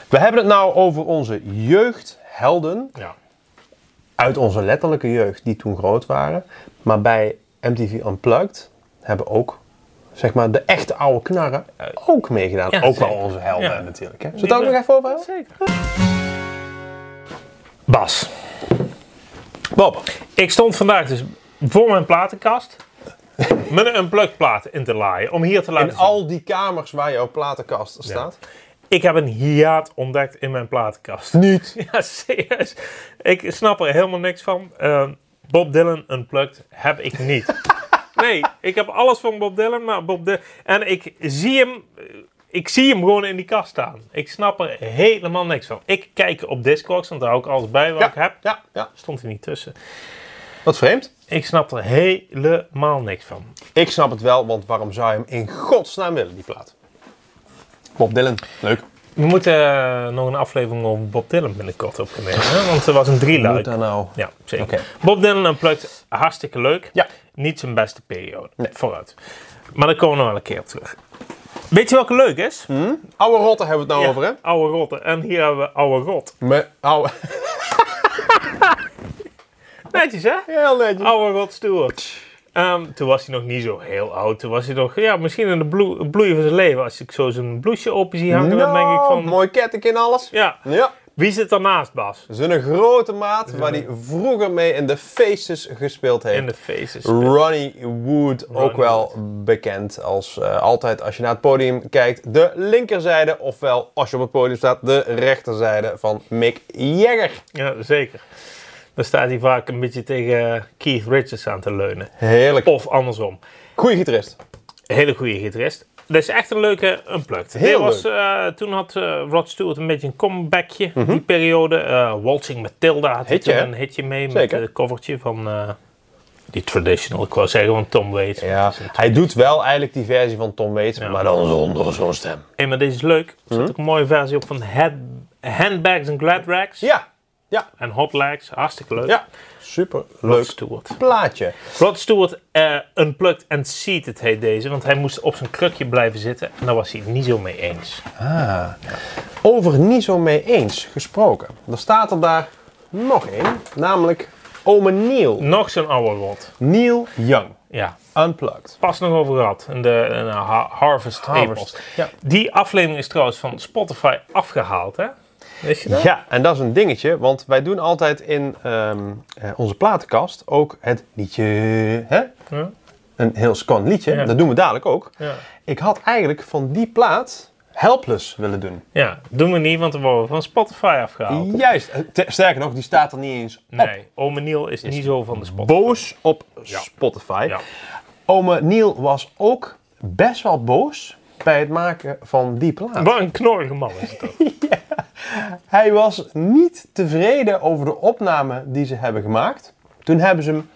S1: We hebben het nou over onze jeugdhelden.
S2: Ja.
S1: Uit onze letterlijke jeugd, die toen groot waren. Maar bij MTV Unplugged hebben ook zeg maar, de echte oude knarren ook meegedaan.
S2: Ja,
S1: ook wel
S2: zeker.
S1: onze helden
S2: Ja.
S1: natuurlijk. Hè? Zullen we het ook nog even over hebben?
S2: Zeker. Bas,
S1: Bob,
S2: ik stond vandaag dus voor mijn platenkast met een unplugged plaat in te laaien om hier te laten
S1: in
S2: zien.
S1: al die kamers waar jouw platenkast staat.
S2: Ik heb een hiaat ontdekt in mijn platenkast.
S1: Niet.
S2: Ja, serieus. Ik snap er helemaal niks van. Eh, Bob Dylan unplugged heb ik niet. nee, ik heb alles van Bob Dylan, maar Bob Dylan... En ik zie hem... eh, ik zie hem gewoon in die kast staan. Ik snap er helemaal niks van. Ik kijk op Discogs, want daar hou ik alles bij wat
S1: Ja,
S2: ik heb.
S1: ja, ja.
S2: Stond hij niet tussen.
S1: Wat vreemd.
S2: Ik snap er helemaal niks van.
S1: Ik snap het wel, want waarom zou je hem in godsnaam willen, die plaat? Bob Dylan. Leuk.
S2: We moeten eh, nog een aflevering over Bob Dylan binnenkort opnemen. Hè? Want er was een
S1: Moet
S2: drieluik.
S1: daar nou...
S2: Ja, zeker.
S1: Oké.
S2: Bob Dylan Unplugged, hartstikke leuk.
S1: Ja.
S2: Niet zijn beste periode. Vooruit. Maar daar komen we nog wel een keer op terug. Weet je welke leuk is?
S1: Oude rotten hebben we het nou over, hè?
S2: Oude rotten. En hier hebben we oude rot.
S1: Me, oude...
S2: Netjes, hè?
S1: Heel netjes.
S2: Oude Rod Stewart. Ehm, toen was hij nog niet zo heel oud. Toen was hij nog, ja, misschien in de bloe- bloei van zijn leven. Als ik zo zijn bloesje open zie hangen, dan denk ik
S1: Nou,
S2: van...
S1: mooi ketting in alles.
S2: Ja,
S1: Ja.
S2: wie zit daarnaast, Bas?
S1: Zo'n grote maat waar hij vroeger mee in de Faces gespeeld heeft.
S2: In de faces.
S1: Ronnie Wood, ook wel bekend als eh, altijd als je naar het podium kijkt, de linkerzijde, ofwel als je op het podium staat, de rechterzijde van Mick Jagger.
S2: Ja, zeker. Dan staat hij vaak een beetje tegen Keith Richards aan te leunen.
S1: Heerlijk.
S2: Of andersom.
S1: Goeie gitarist.
S2: Hele goede gitarist. Dat is echt een leuke unplugged.
S1: Heel
S2: Dit was, eh, toen had eh, Rod Stewart een beetje een comebackje, die periode. Eh, Waltzing Matilda had hij
S1: Mhm. Hitje,
S2: toen
S1: hè?
S2: een hitje mee
S1: Zeker.
S2: met het covertje van eh, die traditional, ik wou zeggen, van Tom Waits.
S1: Ja, hij doet wel eigenlijk die versie van Tom Waits, maar dan zonder zo'n stem.
S2: Hé, maar deze is leuk. Er zit
S1: Mhm.
S2: ook een mooie versie op van Head, Handbags and Glad Rags.
S1: Ja, ja,
S2: En Hot Legs, hartstikke leuk.
S1: ja. Super
S2: Rod
S1: leuk
S2: Stewart.
S1: plaatje.
S2: Rod Stewart eh, Unplugged and Seated heet deze, want hij moest op zijn krukje blijven zitten en daar was hij het niet zo mee eens.
S1: Over niet zo mee eens gesproken. Er staat er daar nog één, namelijk Ome Neil.
S2: Nog zo'n oude rot.
S1: Neil Young,
S2: Ja,
S1: Unplugged.
S2: pas nog over gehad. In de, in de ha- Harvest,
S1: Harvest,
S2: Apples.
S1: ja.
S2: Die aflevering is trouwens van Spotify afgehaald, hè? Weet je dat?
S1: Ja, en dat is een dingetje, want wij doen altijd in ehm, eh, onze platenkast ook het liedje. Hè?
S2: Ja.
S1: Een heel scan liedje,
S2: Ja.
S1: dat doen we dadelijk ook.
S2: Ja.
S1: Ik had eigenlijk van die plaat Helpless willen doen.
S2: Ja, doen we niet, want dan worden we van Spotify afgehaald.
S1: Juist, eh, te- sterker nog, die staat er niet eens op.
S2: Nee, Ome Niel is, niet zo van de Spotify.
S1: Boos op Spotify.
S2: Ja.
S1: Ome Neil was ook best wel boos bij het maken van die plaat.
S2: Wat een knorrige man is het toch?
S1: Hij was niet tevreden over de opname die ze hebben gemaakt. Toen hebben ze hem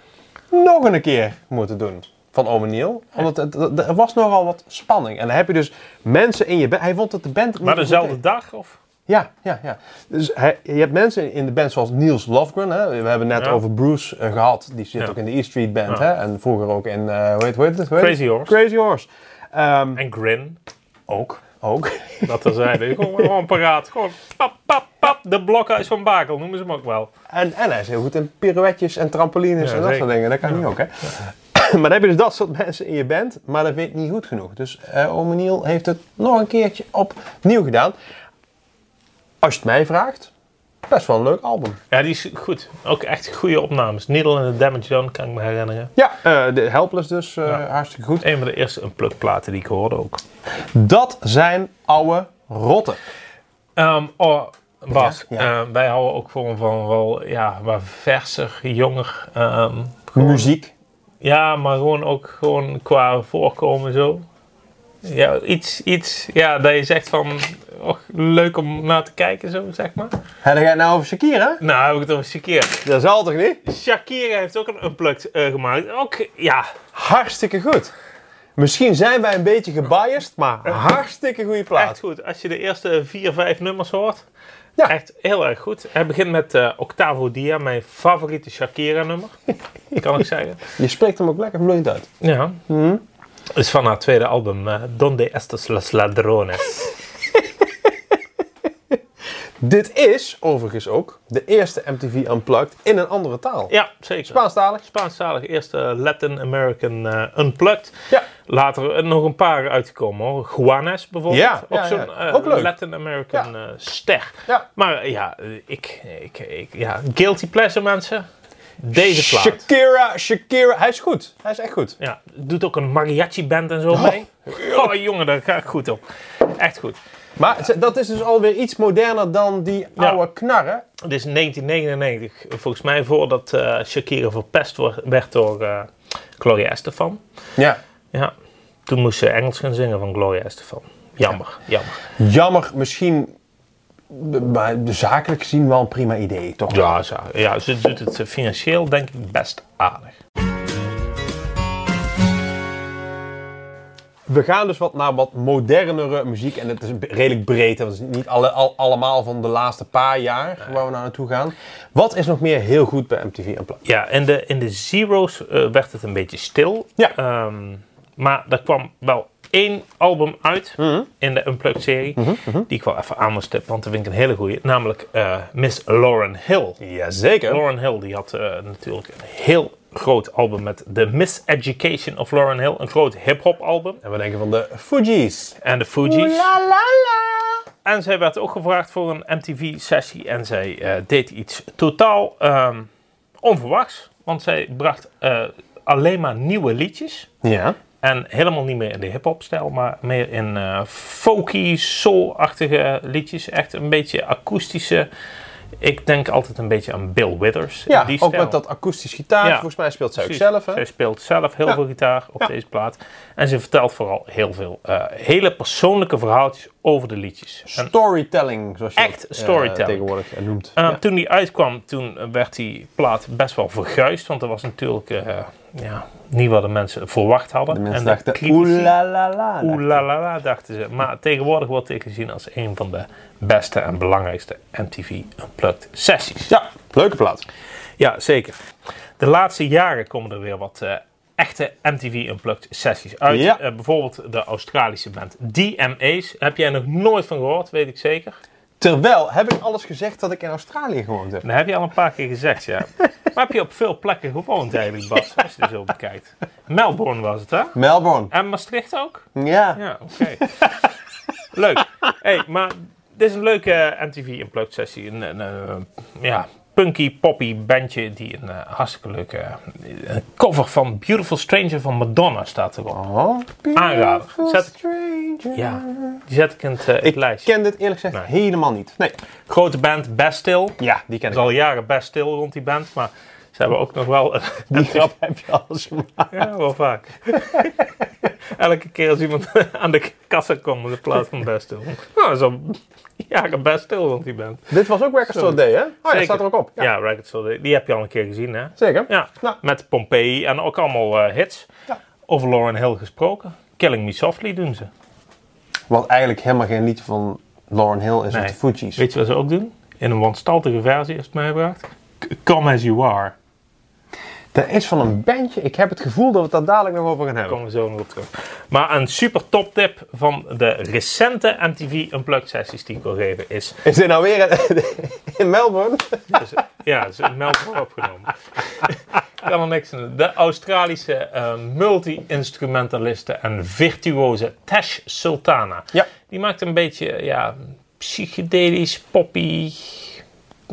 S1: nog een keer moeten doen van Ome Neil. Omdat het- het- er was nogal wat spanning. En dan heb je dus mensen in je band. Hij vond dat de band...
S2: Maar dezelfde dag, of?
S1: Ja, ja, ja. Dus hij- je hebt mensen in de band zoals Niels Lofgren. Hè? We hebben het net
S2: Ja.
S1: over Bruce eh, gehad. Die zit
S2: Ja.
S1: ook in de E Street Band.
S2: Ja.
S1: Hè? En vroeger ook in... eh, hoe heet, hoe heet het? Hoe heet
S2: Crazy
S1: het?
S2: Horse.
S1: Crazy Horse. Ehm,
S2: En Grin,
S1: ook. Ook.
S2: dat er zeiden. gewoon, gewoon paraat. Gewoon pap, pap, pap. De blokhuis van Bakel, noemen ze hem ook wel.
S1: En, en hij is heel goed in pirouetjes en trampolines
S2: Ja,
S1: en dat
S2: zeker.
S1: soort dingen. Dat kan hij ook, hè? maar dan heb je dus dat soort mensen in je band, maar dat vind ik niet goed genoeg. Dus eh Ome Niel heeft het nog een keertje opnieuw gedaan. Als je het mij vraagt, best wel een leuk album.
S2: Ja, die is goed. Ook echt goede opnames. Needle in the Damage Done, kan ik me herinneren.
S1: Ja, eh, de Helpless dus, eh, hartstikke goed.
S2: Een van de eerste unplug-platen die ik hoorde ook.
S1: Dat zijn oude rotten.
S2: Ehm, oh, Bas,
S1: Ja, ja.
S2: ehm, wij houden ook gewoon van wel, ja, maar verser, jonger. ehm,
S1: Muziek.
S2: ja, maar gewoon ook gewoon qua voorkomen zo. Ja, iets, iets, ja, dat je zegt van, och, leuk om naar te kijken zo, zeg maar.
S1: En dan ga je nou over Shakira?
S2: Nou, heb ik het over Shakira.
S1: Dat zal toch niet?
S2: Shakira heeft ook een unplugged eh, gemaakt. Ook, ja,
S1: Hartstikke goed. Misschien zijn wij een beetje gebiased, maar hartstikke goede
S2: echt
S1: plaat.
S2: goed. Als je de eerste vier, vijf nummers hoort,
S1: Ja.
S2: echt heel erg goed. Hij begint met eh, Octavo Dia, mijn favoriete Shakira-nummer, kan ik zeggen.
S1: Je spreekt hem ook lekker vloeiend uit.
S2: Ja.
S1: Hmm?
S2: Is van haar tweede album, eh, Donde Estos Los Ladrones.
S1: Dit is overigens ook de eerste MTV Unplugged in een andere taal.
S2: ja, zeker.
S1: Spaanstalig.
S2: Spaanstalig eerste Latin American eh, Unplugged.
S1: Ja.
S2: Later eh, nog een paar uitgekomen hoor. Juanes bijvoorbeeld.
S1: Ja,
S2: ook
S1: ja,
S2: zo'n
S1: ja.
S2: eh,
S1: Ook leuk.
S2: Latin American eh, ster.
S1: Ja.
S2: Maar eh, ja, eh, ik, ik, ik, ja, guilty pleasure mensen. Deze plaat.
S1: Shakira, Shakira. Hij is goed. Hij is echt goed.
S2: Ja, doet ook een mariachi band en zo mee. Oh jongen, daar ga ik goed op. Echt goed.
S1: Maar ze- dat is dus alweer iets moderner dan die oude knarren.
S2: Het is 1999, volgens mij voordat eh, Shakira verpest wo- werd door eh, Gloria Estefan.
S1: Ja.
S2: Ja, toen moest ze Engels gaan zingen van Gloria Estefan. Jammer, jammer.
S1: Jammer, misschien, b- maar zakelijk gezien wel een prima idee, toch?
S2: Ja, zo. ja, ze doet het eh, financieel denk ik best aardig.
S1: We gaan dus wat naar wat modernere muziek. En het is b- redelijk breed. hè, want Het is niet alle, al, allemaal van de laatste paar jaar waar we naar naartoe gaan. Wat is nog meer heel goed bij MTV en Play?
S2: Ja, in de, in de Zero's eh, werd het een beetje stil.
S1: Ja.
S2: Ehm, maar er kwam wel één album uit in de Unplugged-serie. Die ik wel even aan moest tippen, want dat vind ik een hele goeie. Namelijk eh, Miss Lauren Hill.
S1: Jazeker.
S2: Lauren Hill die had eh, natuurlijk een heel groot album met The Miseducation of Lauren Hill. Een groot hip-hop album.
S1: En we denken van de Fugees.
S2: En de Fugees.
S1: La la la.
S2: En zij werd ook gevraagd voor een MTV-sessie. En zij eh, deed iets totaal ehm, onverwachts. Want zij bracht eh, alleen maar nieuwe liedjes.
S1: Ja.
S2: En helemaal niet meer in de hip-hop-stijl, maar meer in eh folky, soul-achtige liedjes. Echt een beetje akoestische. Ik denk altijd een beetje aan Bill Withers. in
S1: Ja,
S2: die
S1: ook
S2: stijl.
S1: met dat akoestisch gitaar.
S2: Ja.
S1: Volgens mij speelt zij ook
S2: Precies.
S1: zelf. Hè?
S2: Zij speelt zelf heel veel gitaar op deze plaat. En ze vertelt vooral heel veel eh, hele persoonlijke verhaaltjes over de liedjes. En
S1: Storytelling, zoals je
S2: Echt
S1: dat, eh,
S2: storytelling.
S1: tegenwoordig eh, noemt.
S2: Eh,
S1: Ja.
S2: Toen die uitkwam, toen werd die plaat best wel verguisd. Want dat was natuurlijk eh, ja, niet wat de mensen verwacht hadden.
S1: De mensen
S2: en
S1: dachten,
S2: critici-
S1: oeh la la la.
S2: oeh, la, la, la, dachten ze. Maar tegenwoordig wordt dit gezien als een van de beste en belangrijkste MTV Unplugged sessies.
S1: Ja, leuke plaat.
S2: Ja, zeker. De laatste jaren komen er weer wat eh, echte MTV Unplugged sessies uit.
S1: Ja.
S2: Eh, bijvoorbeeld de Australische band DMA's. Heb jij nog nooit van gehoord, weet ik zeker.
S1: Terwijl, heb ik alles gezegd dat ik in Australië gewoond heb?
S2: Dat heb je al een paar keer gezegd, ja. maar heb je op veel plekken gewoond eigenlijk, Bas, als je er zo bekijkt. Melbourne was het, hè?
S1: Melbourne.
S2: En Maastricht ook?
S1: Ja.
S2: Ja, oké. Leuk. hey, maar dit is een leuke eh, MTV Unplugged sessie. Een, een, een, ja, punky, poppy bandje die een eh, hartstikke leuke eh, een cover van Beautiful Stranger van Madonna staat erop.
S1: Oh,
S2: Aanrader.
S1: beautiful
S2: Zet ik-
S1: stranger.
S2: Ja, die zet ik in het, eh, het
S1: Ik
S2: lijstje.
S1: ken dit eerlijk gezegd helemaal niet. Nee.
S2: Grote band, Bastille.
S1: Ja, die ken
S2: Er
S1: ik.
S2: is al jaren best stil rond die band, maar ze hebben ook nog wel...
S1: Die grap heb je al eens gemaakt.
S2: Ja, wel vaak. Elke keer als iemand aan de kassa komt in plaats van best stil. Nou, zo jaren best stil rond die band.
S1: Dit was ook Record Store Day, hè? Oh, ja, dat
S2: Zeker.
S1: staat er ook op. Ja,
S2: Ja, Ragged Soul, die- die heb je al een keer gezien, hè?
S1: Zeker.
S2: Ja,
S1: Nou.
S2: met Pompeii en ook allemaal eh, hits.
S1: Ja.
S2: Over Lauren Hill gesproken. Killing Me Softly doen ze.
S1: Wat eigenlijk helemaal geen lied van Lauren Hill is,
S2: Nee.
S1: of de Fugees.
S2: Weet je wat ze ook doen? In een wanstaltige versie, als het mij vraagt. C- Come As You Are.
S1: Dat is van een bandje. Ik heb het gevoel dat we het daar dadelijk nog over gaan hebben.
S2: komen we zo nog op terug. Maar een super top tip van de recente MTV Unplugged sessies die ik wil geven is...
S1: Is dit nou weer in, in Melbourne?
S2: is- Dus, ja, ze melden opgenomen. Ik kan er niks aan doen. De Australische eh, multi-instrumentaliste en virtuose Tash Sultana.
S1: Ja.
S2: Die maakt een beetje ja, psychedelisch, poppy...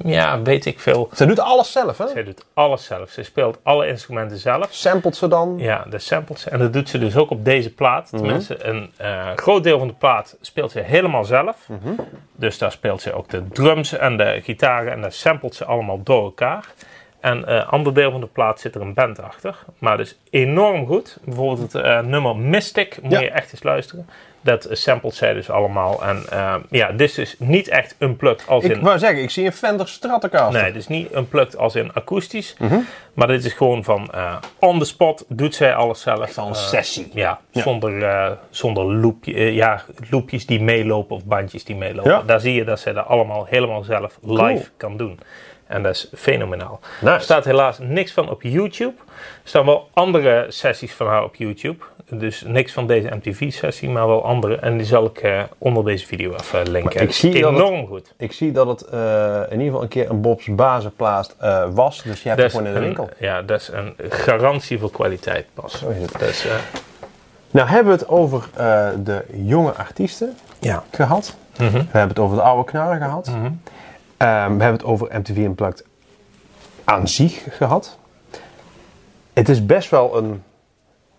S2: Ja, weet ik veel.
S1: Ze doet alles zelf, hè?
S2: Zij doet alles zelf. Ze speelt alle instrumenten zelf.
S1: Sampled ze dan.
S2: Ja, de samples. En dat doet ze dus ook op deze plaat.
S1: Mhm.
S2: Tenminste, een eh, groot deel van de plaat speelt ze helemaal zelf.
S1: Mhm.
S2: Dus daar speelt ze ook de drums en de gitaren en daar samplet ze allemaal door elkaar. En een ander deel van de plaat zit er een band achter. Maar dus enorm goed. Bijvoorbeeld het eh, nummer Mystic, moet
S1: Ja.
S2: je echt eens luisteren. Dat samplet zij dus allemaal. En eh, ja, dit is dus niet echt unplugged als
S1: Ik
S2: in...
S1: wou zeggen, ik zie een Fender Stratocaster.
S2: Nee, dus niet unplugged als in akoestisch.
S1: Mhm.
S2: Maar dit is gewoon van eh, on the spot, doet zij alles zelf.
S1: Van
S2: Eh,
S1: sessie.
S2: ja, zonder, eh, zonder loopje, eh, ja, loopjes die meelopen of bandjes die meelopen.
S1: Ja.
S2: Daar zie je dat ze dat allemaal helemaal zelf live kan doen. En dat is fenomenaal. Er staat helaas niks van op YouTube. Er staan wel andere sessies van haar op YouTube. Dus niks van deze MTV-sessie, maar wel andere. En die zal ik eh, onder deze video even linken.
S1: ik
S2: Het is
S1: zie dat het-
S2: enorm goed.
S1: Ik zie dat het eh, in ieder geval een keer een Bob's Bazenplaat eh was. Dus je hebt het
S2: Dat is
S1: gewoon in de
S2: een-
S1: winkel.
S2: Ja, dat is een garantie voor kwaliteit pas.
S1: Zo is het.
S2: Dat is, eh,
S1: Nou hebben we het over eh, de jonge artiesten
S2: ja.
S1: gehad.
S2: Mhm.
S1: We hebben het over de oude knarren gehad. Ehm, we hebben het over MTV Unplugged aan zich gehad. Het is best wel een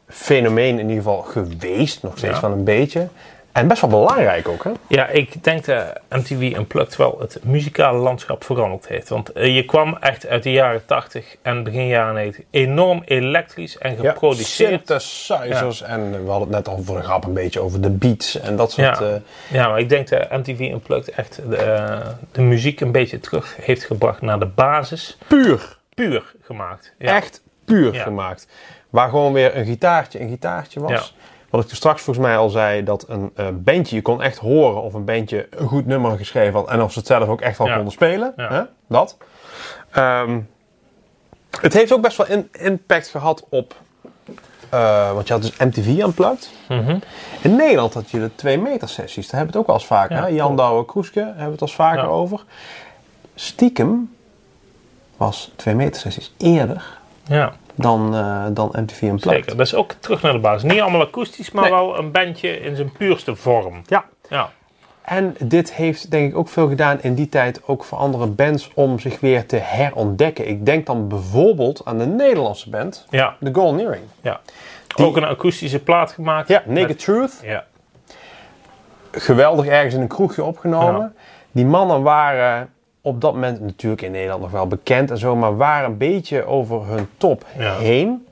S1: fenomeen in ieder geval geweest, nog steeds
S2: Ja.
S1: wel een beetje. En best wel belangrijk ook, hè?
S2: Ja, ik denk dat MTV Unplugged wel het muzikale landschap veranderd heeft. Want eh, je kwam echt uit de jaren 80 en begin jaren 90 enorm elektrisch en geproduceerd.
S1: synthesizers. En we hadden het net al voor de grap een beetje over de beats en dat soort...
S2: Ja.
S1: eh,
S2: Ja, maar ik denk dat MTV Unplugged echt de, eh, de muziek een beetje terug heeft gebracht naar de basis.
S1: puur.
S2: Puur gemaakt. Ja.
S1: Echt puur
S2: Ja.
S1: gemaakt. Waar gewoon weer een gitaartje een gitaartje was.
S2: Ja.
S1: Wat ik toen straks volgens mij al zei, dat een eh, bandje, je kon echt horen of een bandje een goed nummer geschreven had. En of ze het zelf ook echt wel
S2: Ja.
S1: konden spelen.
S2: Ja.
S1: Hè? Dat. Ehm, het heeft ook best wel in- impact gehad op... eh, want je had dus MTV Unplugged.
S2: Mhm.
S1: In Nederland had je de 2 meter sessies. Daar hebben we het ook al eens vaker.
S2: Ja,
S1: hè? Jan
S2: klopt.
S1: Douwe Kroeske hebben we het al eens vaker
S2: Ja.
S1: over. Stiekem was 2 meter sessies eerder
S2: Ja,
S1: dan, eh, dan MTV Unplugged.
S2: zeker. Dat is ook terug naar de basis. Niet allemaal akoestisch, maar
S1: Nee.
S2: wel een bandje in zijn puurste vorm.
S1: Ja.
S2: Ja.
S1: En dit heeft denk ik ook veel gedaan in die tijd ook voor andere bands om zich weer te herontdekken. Ik denk dan bijvoorbeeld aan de Nederlandse band,
S2: Ja.
S1: The Golden Earring.
S2: ja. Ook een akoestische plaat gemaakt.
S1: Ja,
S2: Met-
S1: Naked Truth.
S2: Ja.
S1: geweldig ergens in een kroegje opgenomen. Die mannen waren op dat moment natuurlijk in Nederland nog wel bekend en zo, maar waren een beetje over hun top
S2: Ja.
S1: heen.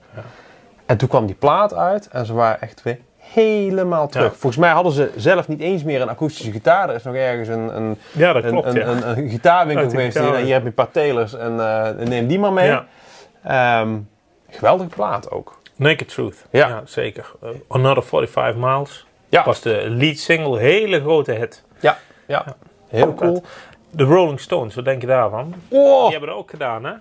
S1: En toen kwam die plaat uit en ze waren echt weer helemaal terug.
S2: Ja.
S1: Volgens mij hadden ze zelf niet eens meer een akoestische gitaar. Er is nog ergens een, een,
S2: ja, dat
S1: een,
S2: klopt.
S1: een,
S2: ja.
S1: een, een gitaarwinkel
S2: Uit de
S1: geweest. die-
S2: gitaar.
S1: hier heb je een paar telers en eh, neem die maar mee.
S2: Ja.
S1: Ehm, geweldige plaat ook.
S2: Naked Truth.
S1: Ja.
S2: zeker. Eh, Another 45 Miles
S1: Ja,
S2: was de lead single. Hele grote hit.
S1: ja, ja. heel cool.
S2: De Rolling Stones, wat denk je daarvan?
S1: Oh,
S2: Die hebben dat ook gedaan, hè?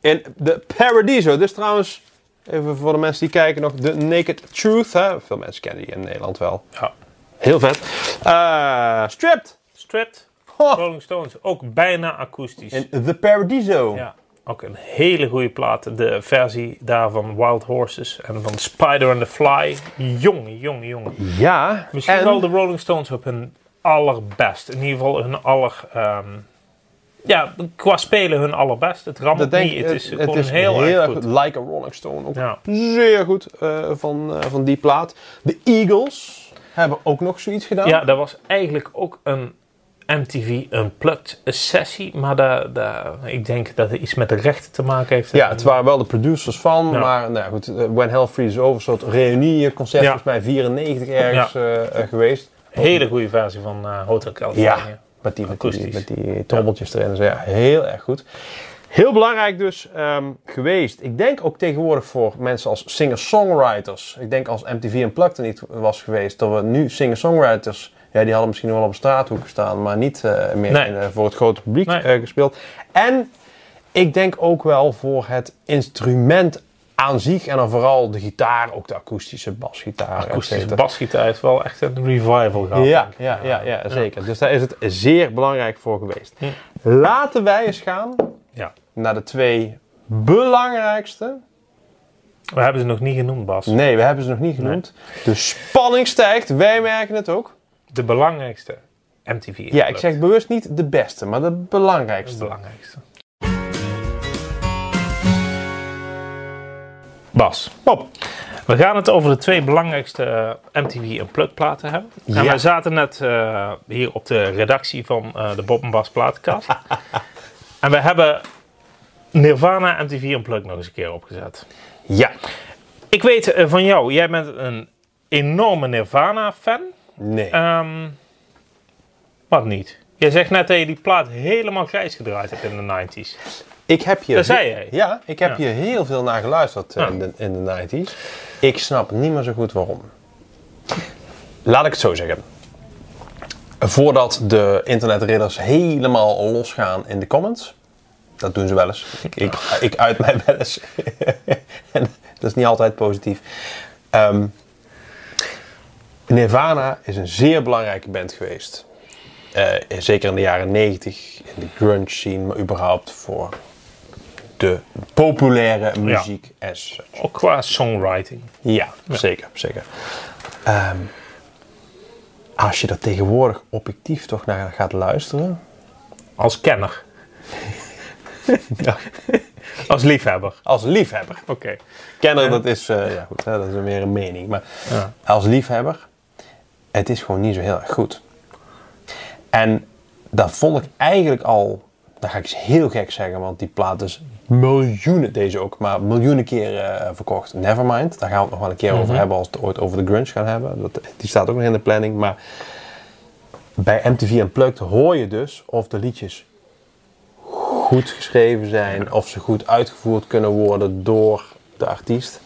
S1: En de Paradiso. Dit is trouwens, even voor de mensen die kijken, nog de Naked Truth. Hè? Veel mensen kennen die in Nederland wel.
S2: Ja.
S1: Heel vet. Eh, Stripped.
S2: Stripped,
S1: Ho!
S2: Rolling Stones, ook bijna akoestisch.
S1: En The Paradiso.
S2: Ja, ook een hele goede plaat. De versie daarvan Wild Horses en van Spider and the Fly. Jong, jong, jong.
S1: Ja,
S2: Misschien
S1: en-
S2: wel de Rolling Stones op hun allerbest. In ieder geval hun aller... ehm, ja, qua spelen hun allerbest. Het rammelt
S1: dat denk
S2: niet.
S1: ik, eh,
S2: Het, is gewoon heel, erg goed.
S1: Like a Rolling Stone. Ook
S2: Ja.
S1: zeer goed eh, van, eh, van die plaat. De Eagles hebben ook nog zoiets gedaan.
S2: Ja, dat was eigenlijk ook een MTV Unplugged sessie. Maar daar, daar, ik denk dat het iets met de rechten te maken heeft.
S1: Ja,
S2: En-
S1: het waren wel de producers van,
S2: Ja.
S1: maar nou ja, goed, eh, When Hell Freezes Over, een soort reunieconcert,
S2: Ja.
S1: volgens mij 94 ergens
S2: Ja.
S1: eh, eh, geweest.
S2: Hele goede versie van eh, Hotel California.
S1: Ja, met die, met die,
S2: Akoestisch.
S1: met die trommeltjes erin. Dus ja, heel erg goed. Heel belangrijk dus ehm, geweest. Ik denk ook tegenwoordig voor mensen als singer-songwriters. Ik denk als MTV Unplugged er niet was geweest, dat we nu singer-songwriters... Ja, die hadden misschien wel op een straathoek gestaan, maar niet eh, meer
S2: Nee.
S1: in, eh, voor het grote publiek
S2: Nee.
S1: eh, gespeeld. En ik denk ook wel voor het instrument aan zich en dan vooral de gitaar, ook de akoestische basgitaar. et
S2: Akoestische
S1: cetera.
S2: basgitaar heeft wel echt een revival gehad.
S1: Ja,
S2: denk ik.
S1: ja, ja, ja, Hm. zeker. Dus daar is het zeer belangrijk voor geweest. Laten wij eens gaan
S2: Ja.
S1: naar de twee belangrijkste.
S2: We hebben ze nog niet genoemd, Bas.
S1: Nee, we hebben ze nog niet genoemd. De spanning stijgt, wij merken het ook.
S2: De belangrijkste MTV Unplugged.
S1: Ja, ik zeg bewust niet de beste, maar de
S2: Het
S1: belangrijkste.
S2: belangrijkste. Bas,
S1: Pop.
S2: We gaan het over de twee belangrijkste eh, MTV Unplugged platen hebben. En
S1: Ja.
S2: wij zaten net eh, hier op de redactie van eh, de Bob en Bas platenkast. en we hebben Nirvana MTV Unplugged nog eens een keer opgezet.
S1: Ja.
S2: Ik weet eh, van jou, jij bent een enorme Nirvana-fan.
S1: Nee.
S2: Ehm, wat niet? Jij zegt net dat je die plaat helemaal grijs gedraaid hebt in de 90s.
S1: ik heb hier
S2: dat zei jij.
S1: Ja, ik heb
S2: Ja.
S1: hier heel veel naar geluisterd eh,
S2: Ja.
S1: in, de, in de 90s. Ik snap niet meer zo goed waarom. Laat ik het zo zeggen. Voordat de internetridders helemaal losgaan in de comments. Dat doen ze wel eens. Ik, ik, ik uit mij wel eens. en dat is niet altijd positief. Ehm, Nirvana is een zeer belangrijke band geweest. Eh, zeker in de jaren 90, in de grunge scene, maar überhaupt voor de populaire muziek as such.
S2: Ook qua songwriting.
S1: Ja, zeker, zeker. Ehm, als je daar tegenwoordig objectief toch naar gaat luisteren.
S2: Als kenner.
S1: Ja.
S2: Als liefhebber.
S1: Als liefhebber.
S2: Oké.
S1: Kenner, dat is, eh, ja, goed, hè, dat is meer een mening. Maar
S2: Ja.
S1: als liefhebber het is gewoon niet zo heel erg goed. En dat vond ik eigenlijk al, dat ga ik eens heel gek zeggen, want die plaat is miljoenen, deze ook, maar miljoenen keer eh, verkocht. Nevermind, daar gaan we het nog wel een keer over hebben als we het ooit over de grunge gaan hebben. Dat, die staat ook nog in de planning, maar bij MTV Unplugged hoor je dus of de liedjes goed geschreven zijn, of ze goed uitgevoerd kunnen worden door de artiest.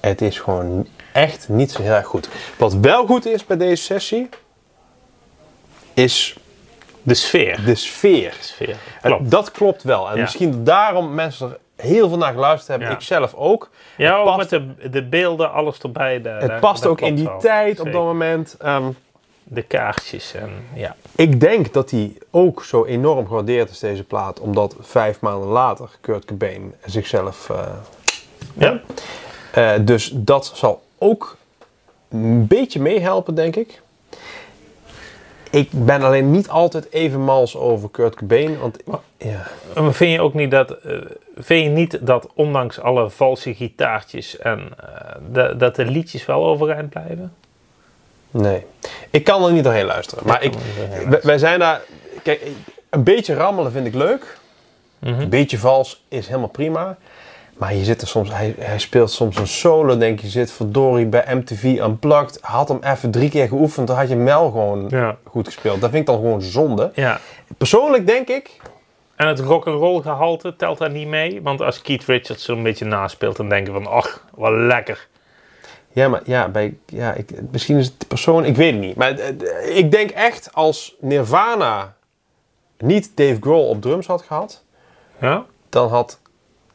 S1: Het is gewoon echt niet zo heel erg goed. Wat wel goed is bij deze sessie, is
S2: De sfeer.
S1: de sfeer.
S2: sfeer.
S1: En
S2: Klopt.
S1: Dat klopt wel. En
S2: Ja.
S1: misschien daarom mensen er heel veel naar geluisterd hebben.
S2: Ja.
S1: Ik zelf ook.
S2: Ja, ook met
S1: past-
S2: de, de beelden, alles erbij. daar-
S1: Het
S2: daar-
S1: past
S2: dat
S1: ook in
S2: klopt
S1: die
S2: wel.
S1: tijd op
S2: Zeker.
S1: dat moment. Ehm,
S2: De kaarsjes en ja.
S1: ik denk dat die ook zo enorm gewaardeerd is, deze plaat. Omdat vijf maanden later Kurt Cobain zichzelf... eh,
S2: Ja,
S1: Eh, dus dat zal ook een beetje meehelpen, denk ik. Ik ben alleen niet altijd even mals over Kurt Cobain. Want ja,
S2: Maar vind je ook niet dat, eh, vind je niet dat ondanks alle valse gitaartjes en eh, da- dat de liedjes wel overeind blijven?
S1: nee. Ik kan er niet doorheen luisteren. Maar ik,
S2: kan er niet doorheen
S1: wij- wij zijn daar... Kijk, een beetje rammelen vind ik leuk.
S2: Mhm.
S1: Een beetje vals is helemaal prima. Maar je zit er soms, hij, hij speelt soms een solo, denk je. Zit verdorie bij MTV Unplugged. Had hem even drie keer geoefend, dan had je hem wel gewoon
S2: Ja.
S1: goed gespeeld. Dat vind ik dan gewoon zonde.
S2: Ja.
S1: Persoonlijk denk ik,
S2: En het rock'n'roll gehalte telt daar niet mee, want als Keith Richards zo'n beetje naspeelt, dan denken van, ach, wat lekker.
S1: Ja, maar ja, bij, ja ik, misschien is het de persoon, ik weet het niet. Maar eh, eh, ik denk echt als Nirvana niet Dave Grohl op drums had gehad,
S2: Ja?
S1: dan had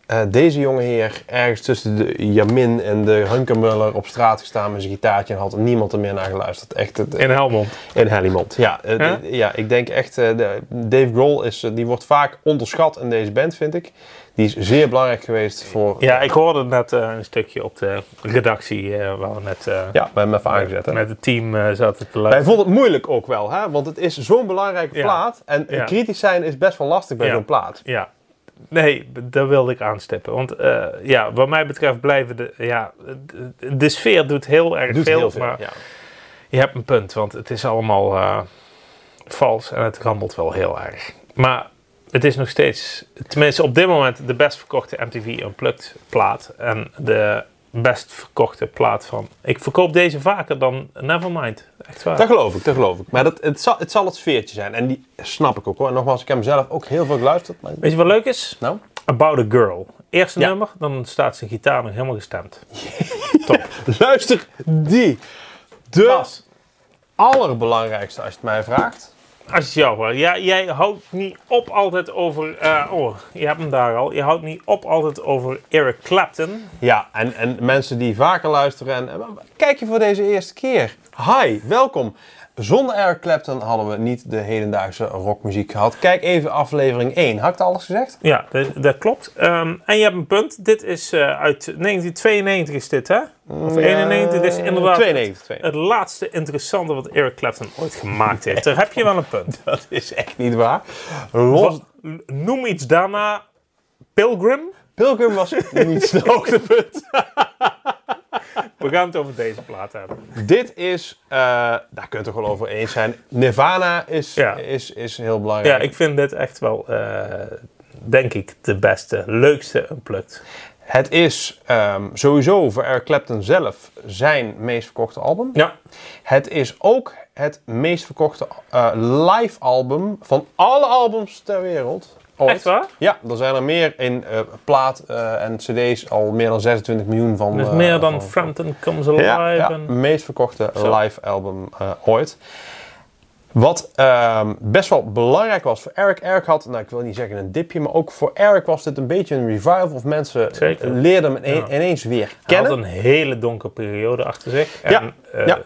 S1: eh, deze jonge heer ergens tussen de Jamin en de Hunkermuller op straat gestaan met zijn gitaartje en had niemand er meer naar geluisterd. Echt het-
S2: In Helmond.
S1: in Helmond. Ja, eh,
S2: Ja?
S1: d- ja, ik denk echt, eh, de- Dave Grohl is, eh, die wordt vaak onderschat in deze band, vind ik. Die is zeer belangrijk geweest voor.
S2: Ja, ik hoorde net eh, een stukje op de redactie eh, waar we net eh,
S1: ja we hebben hem even aangezet. hè?
S2: met het team eh, zaten te
S1: Wij
S2: luisteren.
S1: vonden het moeilijk ook wel, hè? want het is zo'n belangrijke
S2: Ja.
S1: plaat. En
S2: Ja.
S1: kritisch zijn is best wel lastig bij
S2: Ja.
S1: zo'n plaat.
S2: Ja. Nee, daar wilde ik aanstippen. Want eh, ja, wat mij betreft blijven de... Ja, de, de sfeer doet heel erg
S1: Doet
S2: veel,
S1: heel veel.
S2: maar
S1: ja.
S2: Je hebt een punt, want het is allemaal eh, vals en het rammelt wel heel erg. Maar het is nog steeds, tenminste op dit moment, de best verkochte MTV Unplugged plaat. En de best verkochte plaat van... Ik verkoop deze vaker dan Nevermind. Echt waar.
S1: Dat geloof ik, dat geloof ik. Maar dat, het, zal, het zal het sfeertje zijn. En die snap ik ook hoor. En nogmaals, ik heb hem zelf ook heel veel geluisterd. Maar...
S2: Weet je wat leuk is?
S1: Nou,
S2: About a Girl. Eerste
S1: Ja.
S2: nummer, dan staat zijn gitaar nog helemaal gestemd.
S1: luister die. De
S2: Bas,
S1: allerbelangrijkste, als je het mij vraagt.
S2: als het jou was. Ja, jij houdt niet op altijd over... eh, oh, je hebt hem daar al. Je houdt niet op altijd over Eric Clapton.
S1: Ja, en, en mensen die vaker luisteren. En, en kijk je voor deze eerste keer. Hi, welkom. Zonder Eric Clapton hadden we niet de hedendaagse rockmuziek gehad. Kijk even aflevering 1. Had ik dat alles gezegd?
S2: Ja, dat, dat klopt. Ehm, en je hebt een punt. Dit is eh, uit 1992 is dit, hè? Of 91. Dit is
S1: Eh,
S2: inderdaad
S1: 92, 92.
S2: het laatste interessante wat Eric Clapton ooit gemaakt heeft. Daar heb je wel een punt.
S1: Dat is echt niet waar. Los,
S2: Noem iets daarna Pilgrim.
S1: Pilgrim was niet zijn hoogtepunt.
S2: We gaan het over deze plaat hebben.
S1: Dit is, eh, daar kunt u gewoon over eens zijn. Nirvana is,
S2: Ja.
S1: is, is heel
S2: Ja,
S1: belangrijk.
S2: ik vind dit echt wel, eh, denk ik, de beste, leukste unplugged.
S1: Het is ehm, sowieso voor Eric Clapton zelf zijn meest verkochte album.
S2: Ja,
S1: Het is ook het meest verkochte eh, live album van alle albums ter wereld. Ooit.
S2: echt waar?
S1: Ja, er zijn er meer in eh, plaat eh, en cd's al meer dan 26 miljoen van.
S2: Dus
S1: eh,
S2: meer dan
S1: van-
S2: Frampton Comes Alive.
S1: Ja, ja,
S2: en-
S1: meest verkochte
S2: Zo.
S1: live album eh, ooit. Wat ehm, best wel belangrijk was voor Eric. Eric had, nou ik wil niet zeggen een dipje, maar ook voor Eric was dit een beetje een revival. Of mensen
S2: Zeker.
S1: leerden hem ine-
S2: Ja.
S1: ineens weer
S2: Hij had
S1: kennen.
S2: een hele donkere periode achter zich. En,
S1: Ja,
S2: eh,
S1: ja.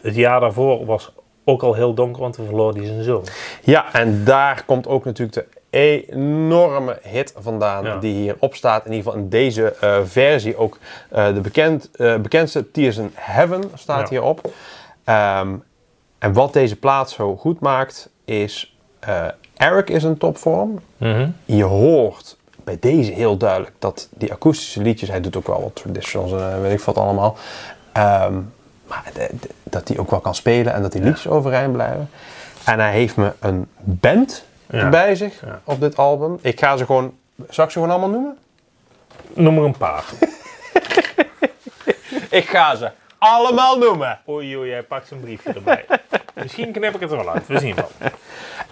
S2: Het jaar daarvoor was ook al heel donker, want toen verloor hij zijn zoon.
S1: Ja, en daar komt ook natuurlijk de enorme hit vandaan
S2: Ja.
S1: die hierop staat. In ieder geval in deze eh, versie ook eh, de bekend, eh, bekendste Tears in Heaven staat
S2: Ja.
S1: hierop. Ehm, en wat deze plaat zo goed maakt is... eh, Eric is een topvorm. Je hoort bij deze heel duidelijk dat die akoestische liedjes... Hij doet ook wel wat traditionals en eh, weet ik wat allemaal. ehm, Maar de- de- dat hij ook wel kan spelen en dat die liedjes overeind blijven. En hij heeft me een band
S2: Ja.
S1: bij zich
S2: Ja.
S1: op dit album. Ik ga ze gewoon... Zal ik ze gewoon allemaal noemen?
S2: Noem er een paar.
S1: Ik ga ze allemaal noemen.
S2: Oei, oei, hij pakt zijn briefje erbij. Misschien knip ik het er wel uit, we zien wel.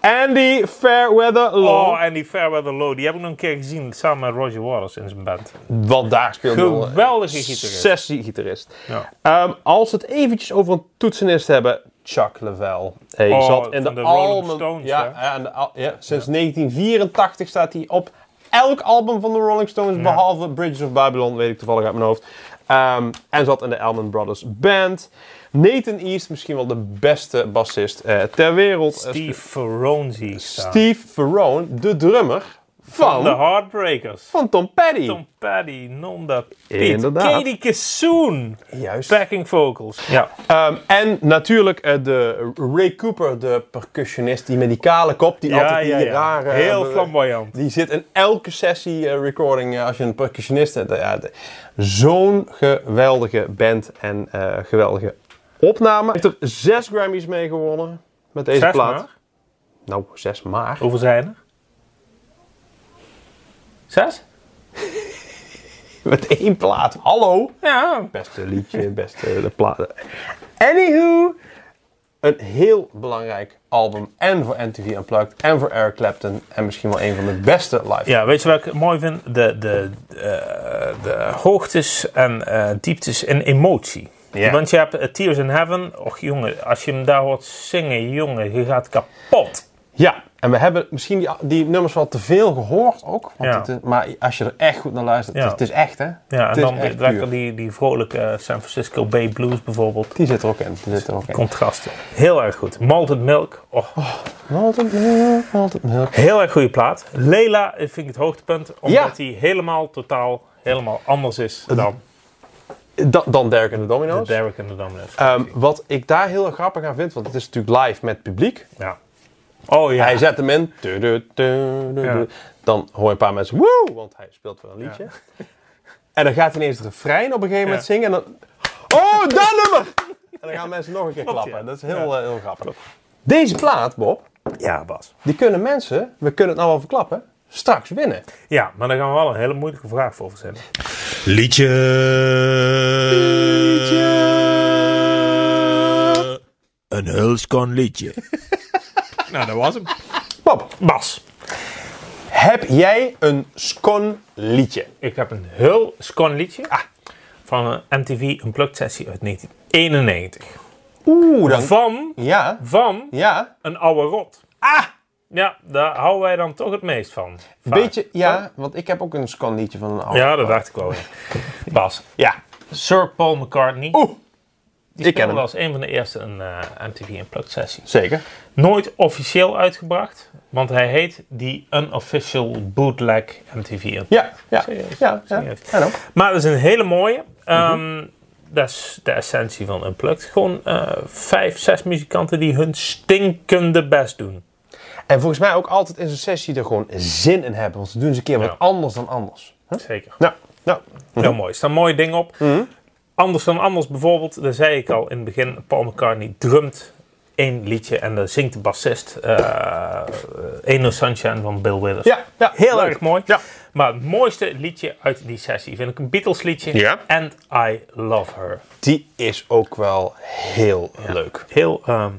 S1: Andy Fairweather Law.
S2: Oh, en die Fairweather Low, die heb ik nog een keer gezien samen met Roger Waters in zijn band.
S1: Wat daar speelde wel een
S2: Geweldige gitarist.
S1: sessie-gitarist.
S2: Ja.
S1: Ehm, als we het eventjes over een toetsenist hebben, Chuck Lavelle. Hij
S2: Oh,
S1: zat in de,
S2: van de Rolling
S1: album-
S2: Stones,
S1: Ja,
S2: hè?
S1: ja, en de al- ja, sinds 1984 staat hij op elk album van de Rolling Stones, behalve Bridges of Babylon, weet ik toevallig uit mijn hoofd. Ehm, en zat in de Elman Brothers Band. Nathan East, misschien wel de beste bassist eh, ter wereld. Eh,
S2: Steve Ferrone zie ik staan.
S1: Steve Verone, de drummer van,
S2: De Heartbreakers.
S1: van Tom Petty.
S2: Tom Paddy, Nonda Piet.
S1: Inderdaad.
S2: Katie Kassoon.
S1: Juist.
S2: Backing vocals. Ja.
S1: Ehm, en natuurlijk eh, de Ray Cooper, de percussionist, die met die kale kop, die altijd die rare...
S2: Heel
S1: eh,
S2: flamboyant.
S1: Die zit in elke sessie eh, recording, eh, als je een percussionist hebt. eh, ja, de- Zo'n geweldige band en eh, geweldige opname. Hij heeft er zes Grammys mee gewonnen met deze
S2: Zes
S1: plaat.
S2: maar.
S1: Nou, zes maar.
S2: Hoeveel zijn er? Zes?
S1: Met één plaat. Hallo!
S2: Ja.
S1: Beste liedje, beste de platen. Anywho, een heel belangrijk album. En voor MTV Unplugged, en voor Eric Clapton. En misschien wel een van de beste live.
S2: Ja, weet je wat ik mooi vind? De, de, eh, de hoogtes en eh, dieptes en emotie.
S1: Ja.
S2: Want je hebt eh, Tears in Heaven. Och jongen, als je hem daar hoort zingen, jongen, je gaat kapot.
S1: Ja, en we hebben misschien die, die nummers wel te veel gehoord ook. Want
S2: Ja.
S1: het is- maar als je er echt goed naar luistert,
S2: Ja.
S1: het, is echt hè.
S2: Ja,
S1: het
S2: en
S1: is
S2: dan
S1: echt
S2: lekker
S1: puur.
S2: die, die vrolijke eh, San Francisco Bay Blues bijvoorbeeld.
S1: Die zit er ook in. Die zit er ook in.
S2: Contrasten. Heel erg goed. Malted Milk. Oh,
S1: Malted milk, malted milk.
S2: Heel erg goede plaat. Lela eh, vind ik het hoogtepunt, omdat
S1: Ja.
S2: hij helemaal totaal helemaal anders is dan
S1: Dan, dan Derek en de
S2: de
S1: Domino's.
S2: Derek en de Domino's.
S1: Ehm, wat ik daar heel erg grappig aan vind, want het is natuurlijk live met publiek.
S2: ja. Oh ja.
S1: Hij zet hem in. Tu, du, tu, du,
S2: Ja.
S1: du. Dan hoor je een paar mensen woe, want hij speelt wel een liedje. En dan gaat hij ineens het refrein op een gegeven moment zingen. En dan, oh, dat nummer! En dan gaan mensen nog een keer klappen.
S2: ja.
S1: Dat is heel, eh, heel grappig. Deze plaat, Bob,
S2: ja, Bas.
S1: die kunnen mensen, we kunnen het nou wel verklappen, straks winnen.
S2: Ja, maar daar gaan we wel een hele moeilijke vraag voor verzinnen.
S3: Liedje. Een hulskon liedje.
S2: nou, dat was hem.
S1: Bob,
S2: Bas,
S1: heb jij een scon liedje?
S2: ik heb een heel scon liedje
S1: Ah.
S2: van een MTV Unplugged sessie uit 1991.
S1: Oeh, dan...
S2: Van,
S1: Ja,
S2: van
S1: ja.
S2: een oude rot. Ah! Ja, daar houden wij dan toch het meest van. Vaak.
S1: Beetje, ja, want ik heb ook een scon liedje van een oude.
S2: Ah. Ja, dat dacht ik wel. ja. Bas,
S1: Ja.
S2: Sir Paul McCartney.
S1: Oeh,
S2: Die
S1: ik ken
S2: speelde
S1: hem.
S2: als een van de eerste een eh, MTV Unplugged sessie.
S1: Zeker.
S2: Nooit officieel uitgebracht, want hij heet die Unofficial Bootleg MTV Unplugged.
S1: Ja, ja.
S2: Serieus,
S1: Ja, ja. Mhm.
S2: serieus.
S1: Ja, dan.
S2: Maar dat is een hele mooie. Ehm, Dat is de essentie van Unplugged. Gewoon eh, vijf, zes muzikanten die hun stinkende best doen.
S1: En volgens mij ook altijd in zo'n sessie er gewoon zin in hebben. Want ze doen eens een keer wat
S2: Ja.
S1: anders dan anders.
S2: Zeker.
S1: Nou, nou.
S2: Heel mooi. Er staan mooie dingen op.
S1: Mhm.
S2: Anders dan anders bijvoorbeeld, daar zei ik al in het begin, Paul McCartney drumt één liedje en dan zingt de bassist eh Eno Sunshine van Bill Withers.
S1: Ja, ja.
S2: Heel
S1: Leuk.
S2: erg mooi.
S1: Ja.
S2: Maar het mooiste liedje uit die sessie vind ik een Beatles liedje.
S1: Ja.
S2: And I Love Her.
S1: Die is ook wel heel leuk.
S2: Heel ehm,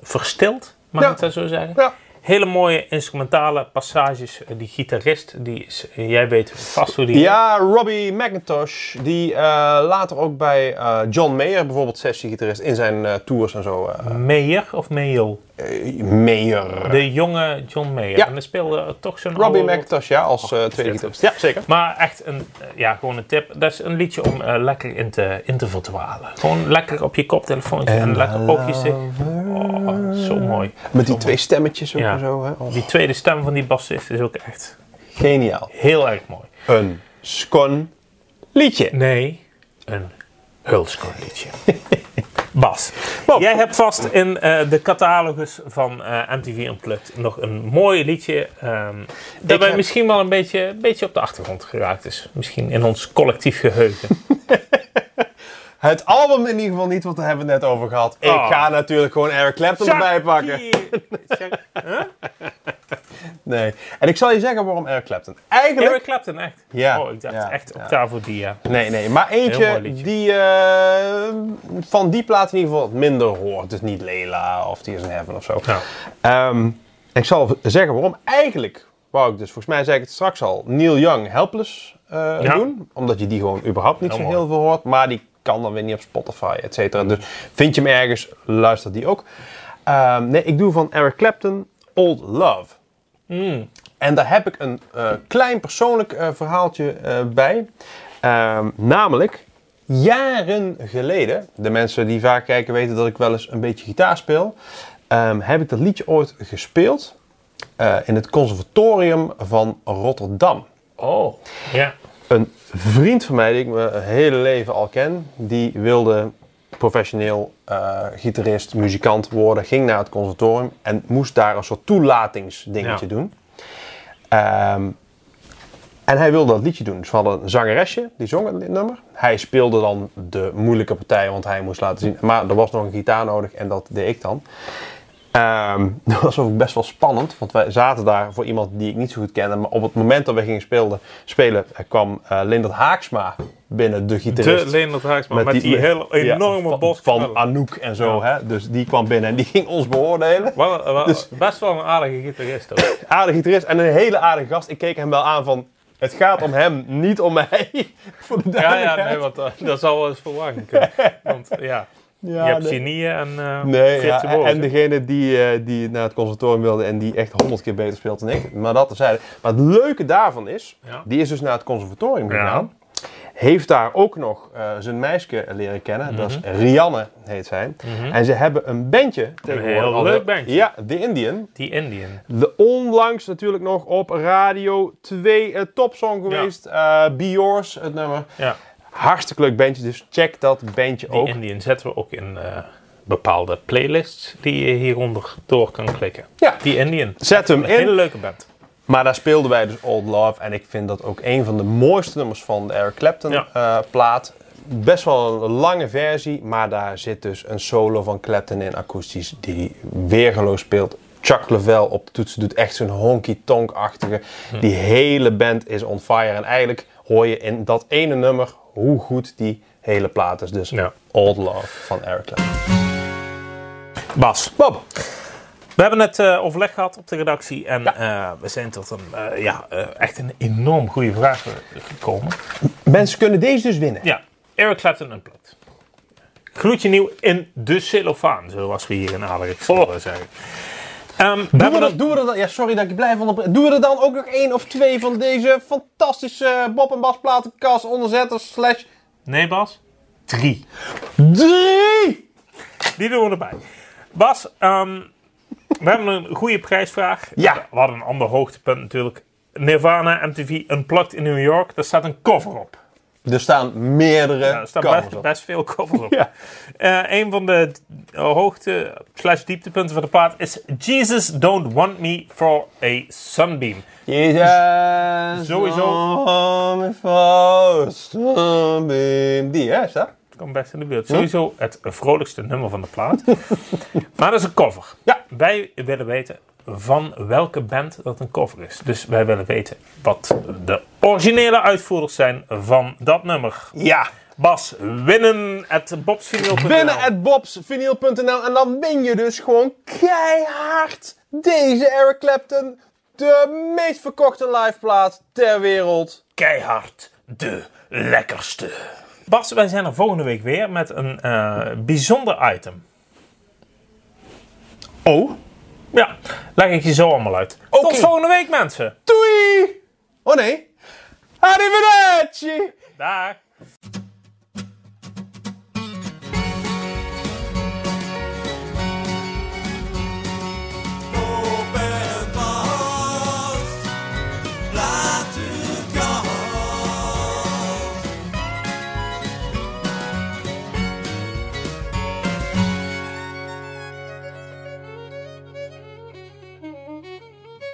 S2: verstild, mag
S1: Ja.
S2: ik dat zo zeggen.
S1: Ja.
S2: Hele mooie instrumentale passages. Eh, Die gitarist, die is, eh, jij weet vast hoe die
S1: Ja, Robbie McIntosh, die eh, later ook bij eh, John Mayer, bijvoorbeeld sessiegitarist, in zijn eh, tours en zo. eh
S2: Meyer of Meel?
S1: eh, Mayer.
S2: De jonge John Mayer.
S1: Ja.
S2: En dat speelde toch zo'n
S1: Robbie
S2: oude-
S1: McIntosh, ja, als eh, tweede gitarist. Oh. Ja, zeker.
S2: Maar echt een, eh, ja, gewoon een tip. Dat is een liedje om eh, lekker in te, in te verdwalen. Gewoon lekker op je koptelefoontje en, lekker oogjes. Oh, zo mooi.
S1: Met die twee stemmetjes ook
S2: Ja.
S1: en zo. Hè? Oh,
S2: Die tweede stem van die bassist is ook echt
S1: geniaal.
S2: heel erg mooi.
S1: Een scon liedje.
S2: Nee, een hulskorreltje. Bas,
S1: Bob.
S2: jij hebt vast in eh, de catalogus van eh, MTV Unplugged nog een mooi liedje. ehm dat wij
S1: heb-
S2: misschien wel een beetje, een beetje op de achtergrond geraakt is. Misschien in ons collectief geheugen.
S1: Het album in ieder geval niet, want daar hebben we het net over gehad. Ik
S2: Oh.
S1: ga natuurlijk gewoon Eric Clapton erbij pakken.
S2: Shakira.
S1: Nee. En ik zal je zeggen waarom Eric Clapton. Eigenlijk...
S2: Eric Clapton, echt?
S1: Ja,
S2: Oh, ik dacht
S1: ja,
S2: echt
S1: ja.
S2: Octavo Dia.
S1: Nee, nee. Maar
S2: Heel mooi
S1: eentje
S2: liedje.
S1: die eh, van die plaat in ieder geval wat minder hoort. Dus niet Leila of Tears in Heaven of zo.
S2: Ja.
S1: Ehm, ik zal zeggen waarom. Eigenlijk wou ik dus, volgens mij zei ik het straks al, Neil Young Helpless eh,
S2: Ja.
S1: doen. Omdat je die gewoon überhaupt niet
S2: Heel
S1: zo
S2: mooi.
S1: heel veel hoort. Maar die kan dan weer niet op Spotify, et cetera. Dus vind je hem ergens, luister die ook. Ehm, nee, ik doe van Eric Clapton Old Love.
S2: Hmm.
S1: En daar heb ik een eh, klein persoonlijk eh, verhaaltje eh, bij. Ehm, namelijk, jaren geleden, de mensen die vaak kijken weten dat ik wel eens een beetje gitaar speel, ehm, heb ik dat liedje ooit gespeeld eh, in het conservatorium van Rotterdam.
S2: Oh, ja.
S1: Een vriend van mij, die ik mijn hele leven al ken, die wilde professioneel eh, gitarist, muzikant worden, ging naar het conservatorium en moest daar een soort toelatingsdingetje
S2: Ja.
S1: doen. Ehm, en hij wilde dat liedje doen. Dus we hadden een zangeresje, die zong het nummer. Hij speelde dan de moeilijke partij, want hij moest laten zien. Maar er was nog een gitaar nodig en dat deed ik dan. Ehm, dat was ook best wel spannend, want wij zaten daar voor iemand die ik niet zo goed kende. Maar op het moment dat we gingen speelden, spelen, eh, kwam eh Lindert Haaksma binnen, de gitarist.
S2: De Leonard Haaksma met, die, hele
S1: ja,
S2: enorme
S1: van-
S2: bos
S1: Van
S2: knallen.
S1: Anouk en zo, hè. Dus die kwam binnen en die ging ons beoordelen.
S2: Wel- wel-
S1: Dus-
S2: Best wel een aardige gitarist ook.
S1: aardige gitarist en een hele aardige gast. Ik keek hem wel aan van, het gaat om hem, niet om mij. Voor de
S2: ja, ja, nee,
S1: duidelijkheid.
S2: want eh, dat zal wel eens verwarring kunnen. Want ja,
S1: Ja,
S2: je hebt
S1: nee.
S2: genieën en eh
S1: Nee, ja,
S2: virtuozen.
S1: en degene die, eh, die naar het conservatorium wilde en die echt honderd keer beter speelt dan ik. Maar dat terzijde. Maar het leuke daarvan is,
S2: Ja.
S1: die is dus naar het conservatorium
S2: Ja.
S1: gegaan. Heeft daar ook nog eh, zijn meisje leren kennen. Dat is
S2: Mhm.
S1: Rianne, heet zij. En ze hebben een bandje tegenwoordig.
S2: heel
S1: al.
S2: leuk bandje.
S1: Ja, The Indian.
S2: Die Indian.
S1: De onlangs natuurlijk nog op Radio 2 eh, topsong geweest. eh Be Yours, het nummer.
S2: Ja,
S1: Hartstikke leuk bandje, dus check dat bandje
S2: die
S1: ook.
S2: Indian zetten we ook in eh, bepaalde playlists die je hieronder door kan klikken.
S1: Ja.
S2: Die Indian.
S1: Zet hem
S2: Een hele
S1: in.
S2: leuke band.
S1: Maar daar speelden wij dus Old Love. En ik vind dat ook een van de mooiste nummers van de Eric Clapton
S2: Ja.
S1: eh, plaat. Best wel een lange versie, maar daar zit dus een solo van Clapton in akoestisch die weergeloos speelt. Chuck Lavelle op de toetsen doet echt zo'n honky-tonk-achtige.
S2: Hm.
S1: Die hele band is on fire. En eigenlijk hoor je in dat ene nummer hoe goed die hele plaat is. Dus
S2: Ja.
S1: Old Love van Eric Clapton.
S2: Bas.
S1: Bob,
S2: We hebben het eh, overleg gehad op de redactie en eh, we zijn tot een, eh, ja, eh, echt een enorm goede vraag eh, gekomen.
S1: mensen kunnen deze dus winnen.
S2: Ja, Eric Clapton Unplugged. Gloedje nieuw in de cellofaan, zoals we hier in Alex
S1: Oh.
S2: zullen zeggen. Ehm, we
S1: Doen
S2: hebben
S1: we,
S2: dat-
S1: er, doen we er dan, ja, sorry dat ik je blijf onderbreken. Doen we er dan ook nog één of twee van deze fantastische Bob en Bas platenkast onderzetters slash
S2: Nee, Bas? Drie.
S1: drie?
S2: Die doen we erbij. Bas, ehm, we hebben een goede prijsvraag.
S1: Ja.
S2: We hadden een ander hoogtepunt natuurlijk. Nirvana MTV Unplugged in New York. Daar staat een cover op.
S1: Er staan meerdere
S2: Ja, Er staan
S1: covers
S2: best,
S1: op.
S2: best veel covers op.
S1: Ja.
S2: Eh, een van de d- hoogte slash dieptepunten van de plaat is Jesus Don't Want Me For A Sunbeam.
S1: Jezus,
S2: Sowieso.
S1: on the first sunbeam. Die, hè, is dat?
S2: Kom best in de buurt. Sowieso het vrolijkste nummer van de plaat. maar dat is een cover.
S1: Ja.
S2: Wij willen weten van welke band dat een cover is. Dus wij willen weten wat de originele uitvoerders zijn van dat nummer.
S1: Ja.
S2: Bas, winnen at bobsvinyl.nl.
S1: Binnen at bobsvinyl.nl en dan win je dus gewoon keihard deze Eric Clapton. De meest verkochte liveplaat ter wereld.
S2: keihard de lekkerste. Bas, wij zijn er volgende week weer met een eh, bijzonder item.
S1: Oh.
S2: Ja, leg ik je zo allemaal uit. Tot
S1: Oké.
S2: volgende week, mensen.
S1: Doei! Oh nee. Arrivederci!
S2: Dag.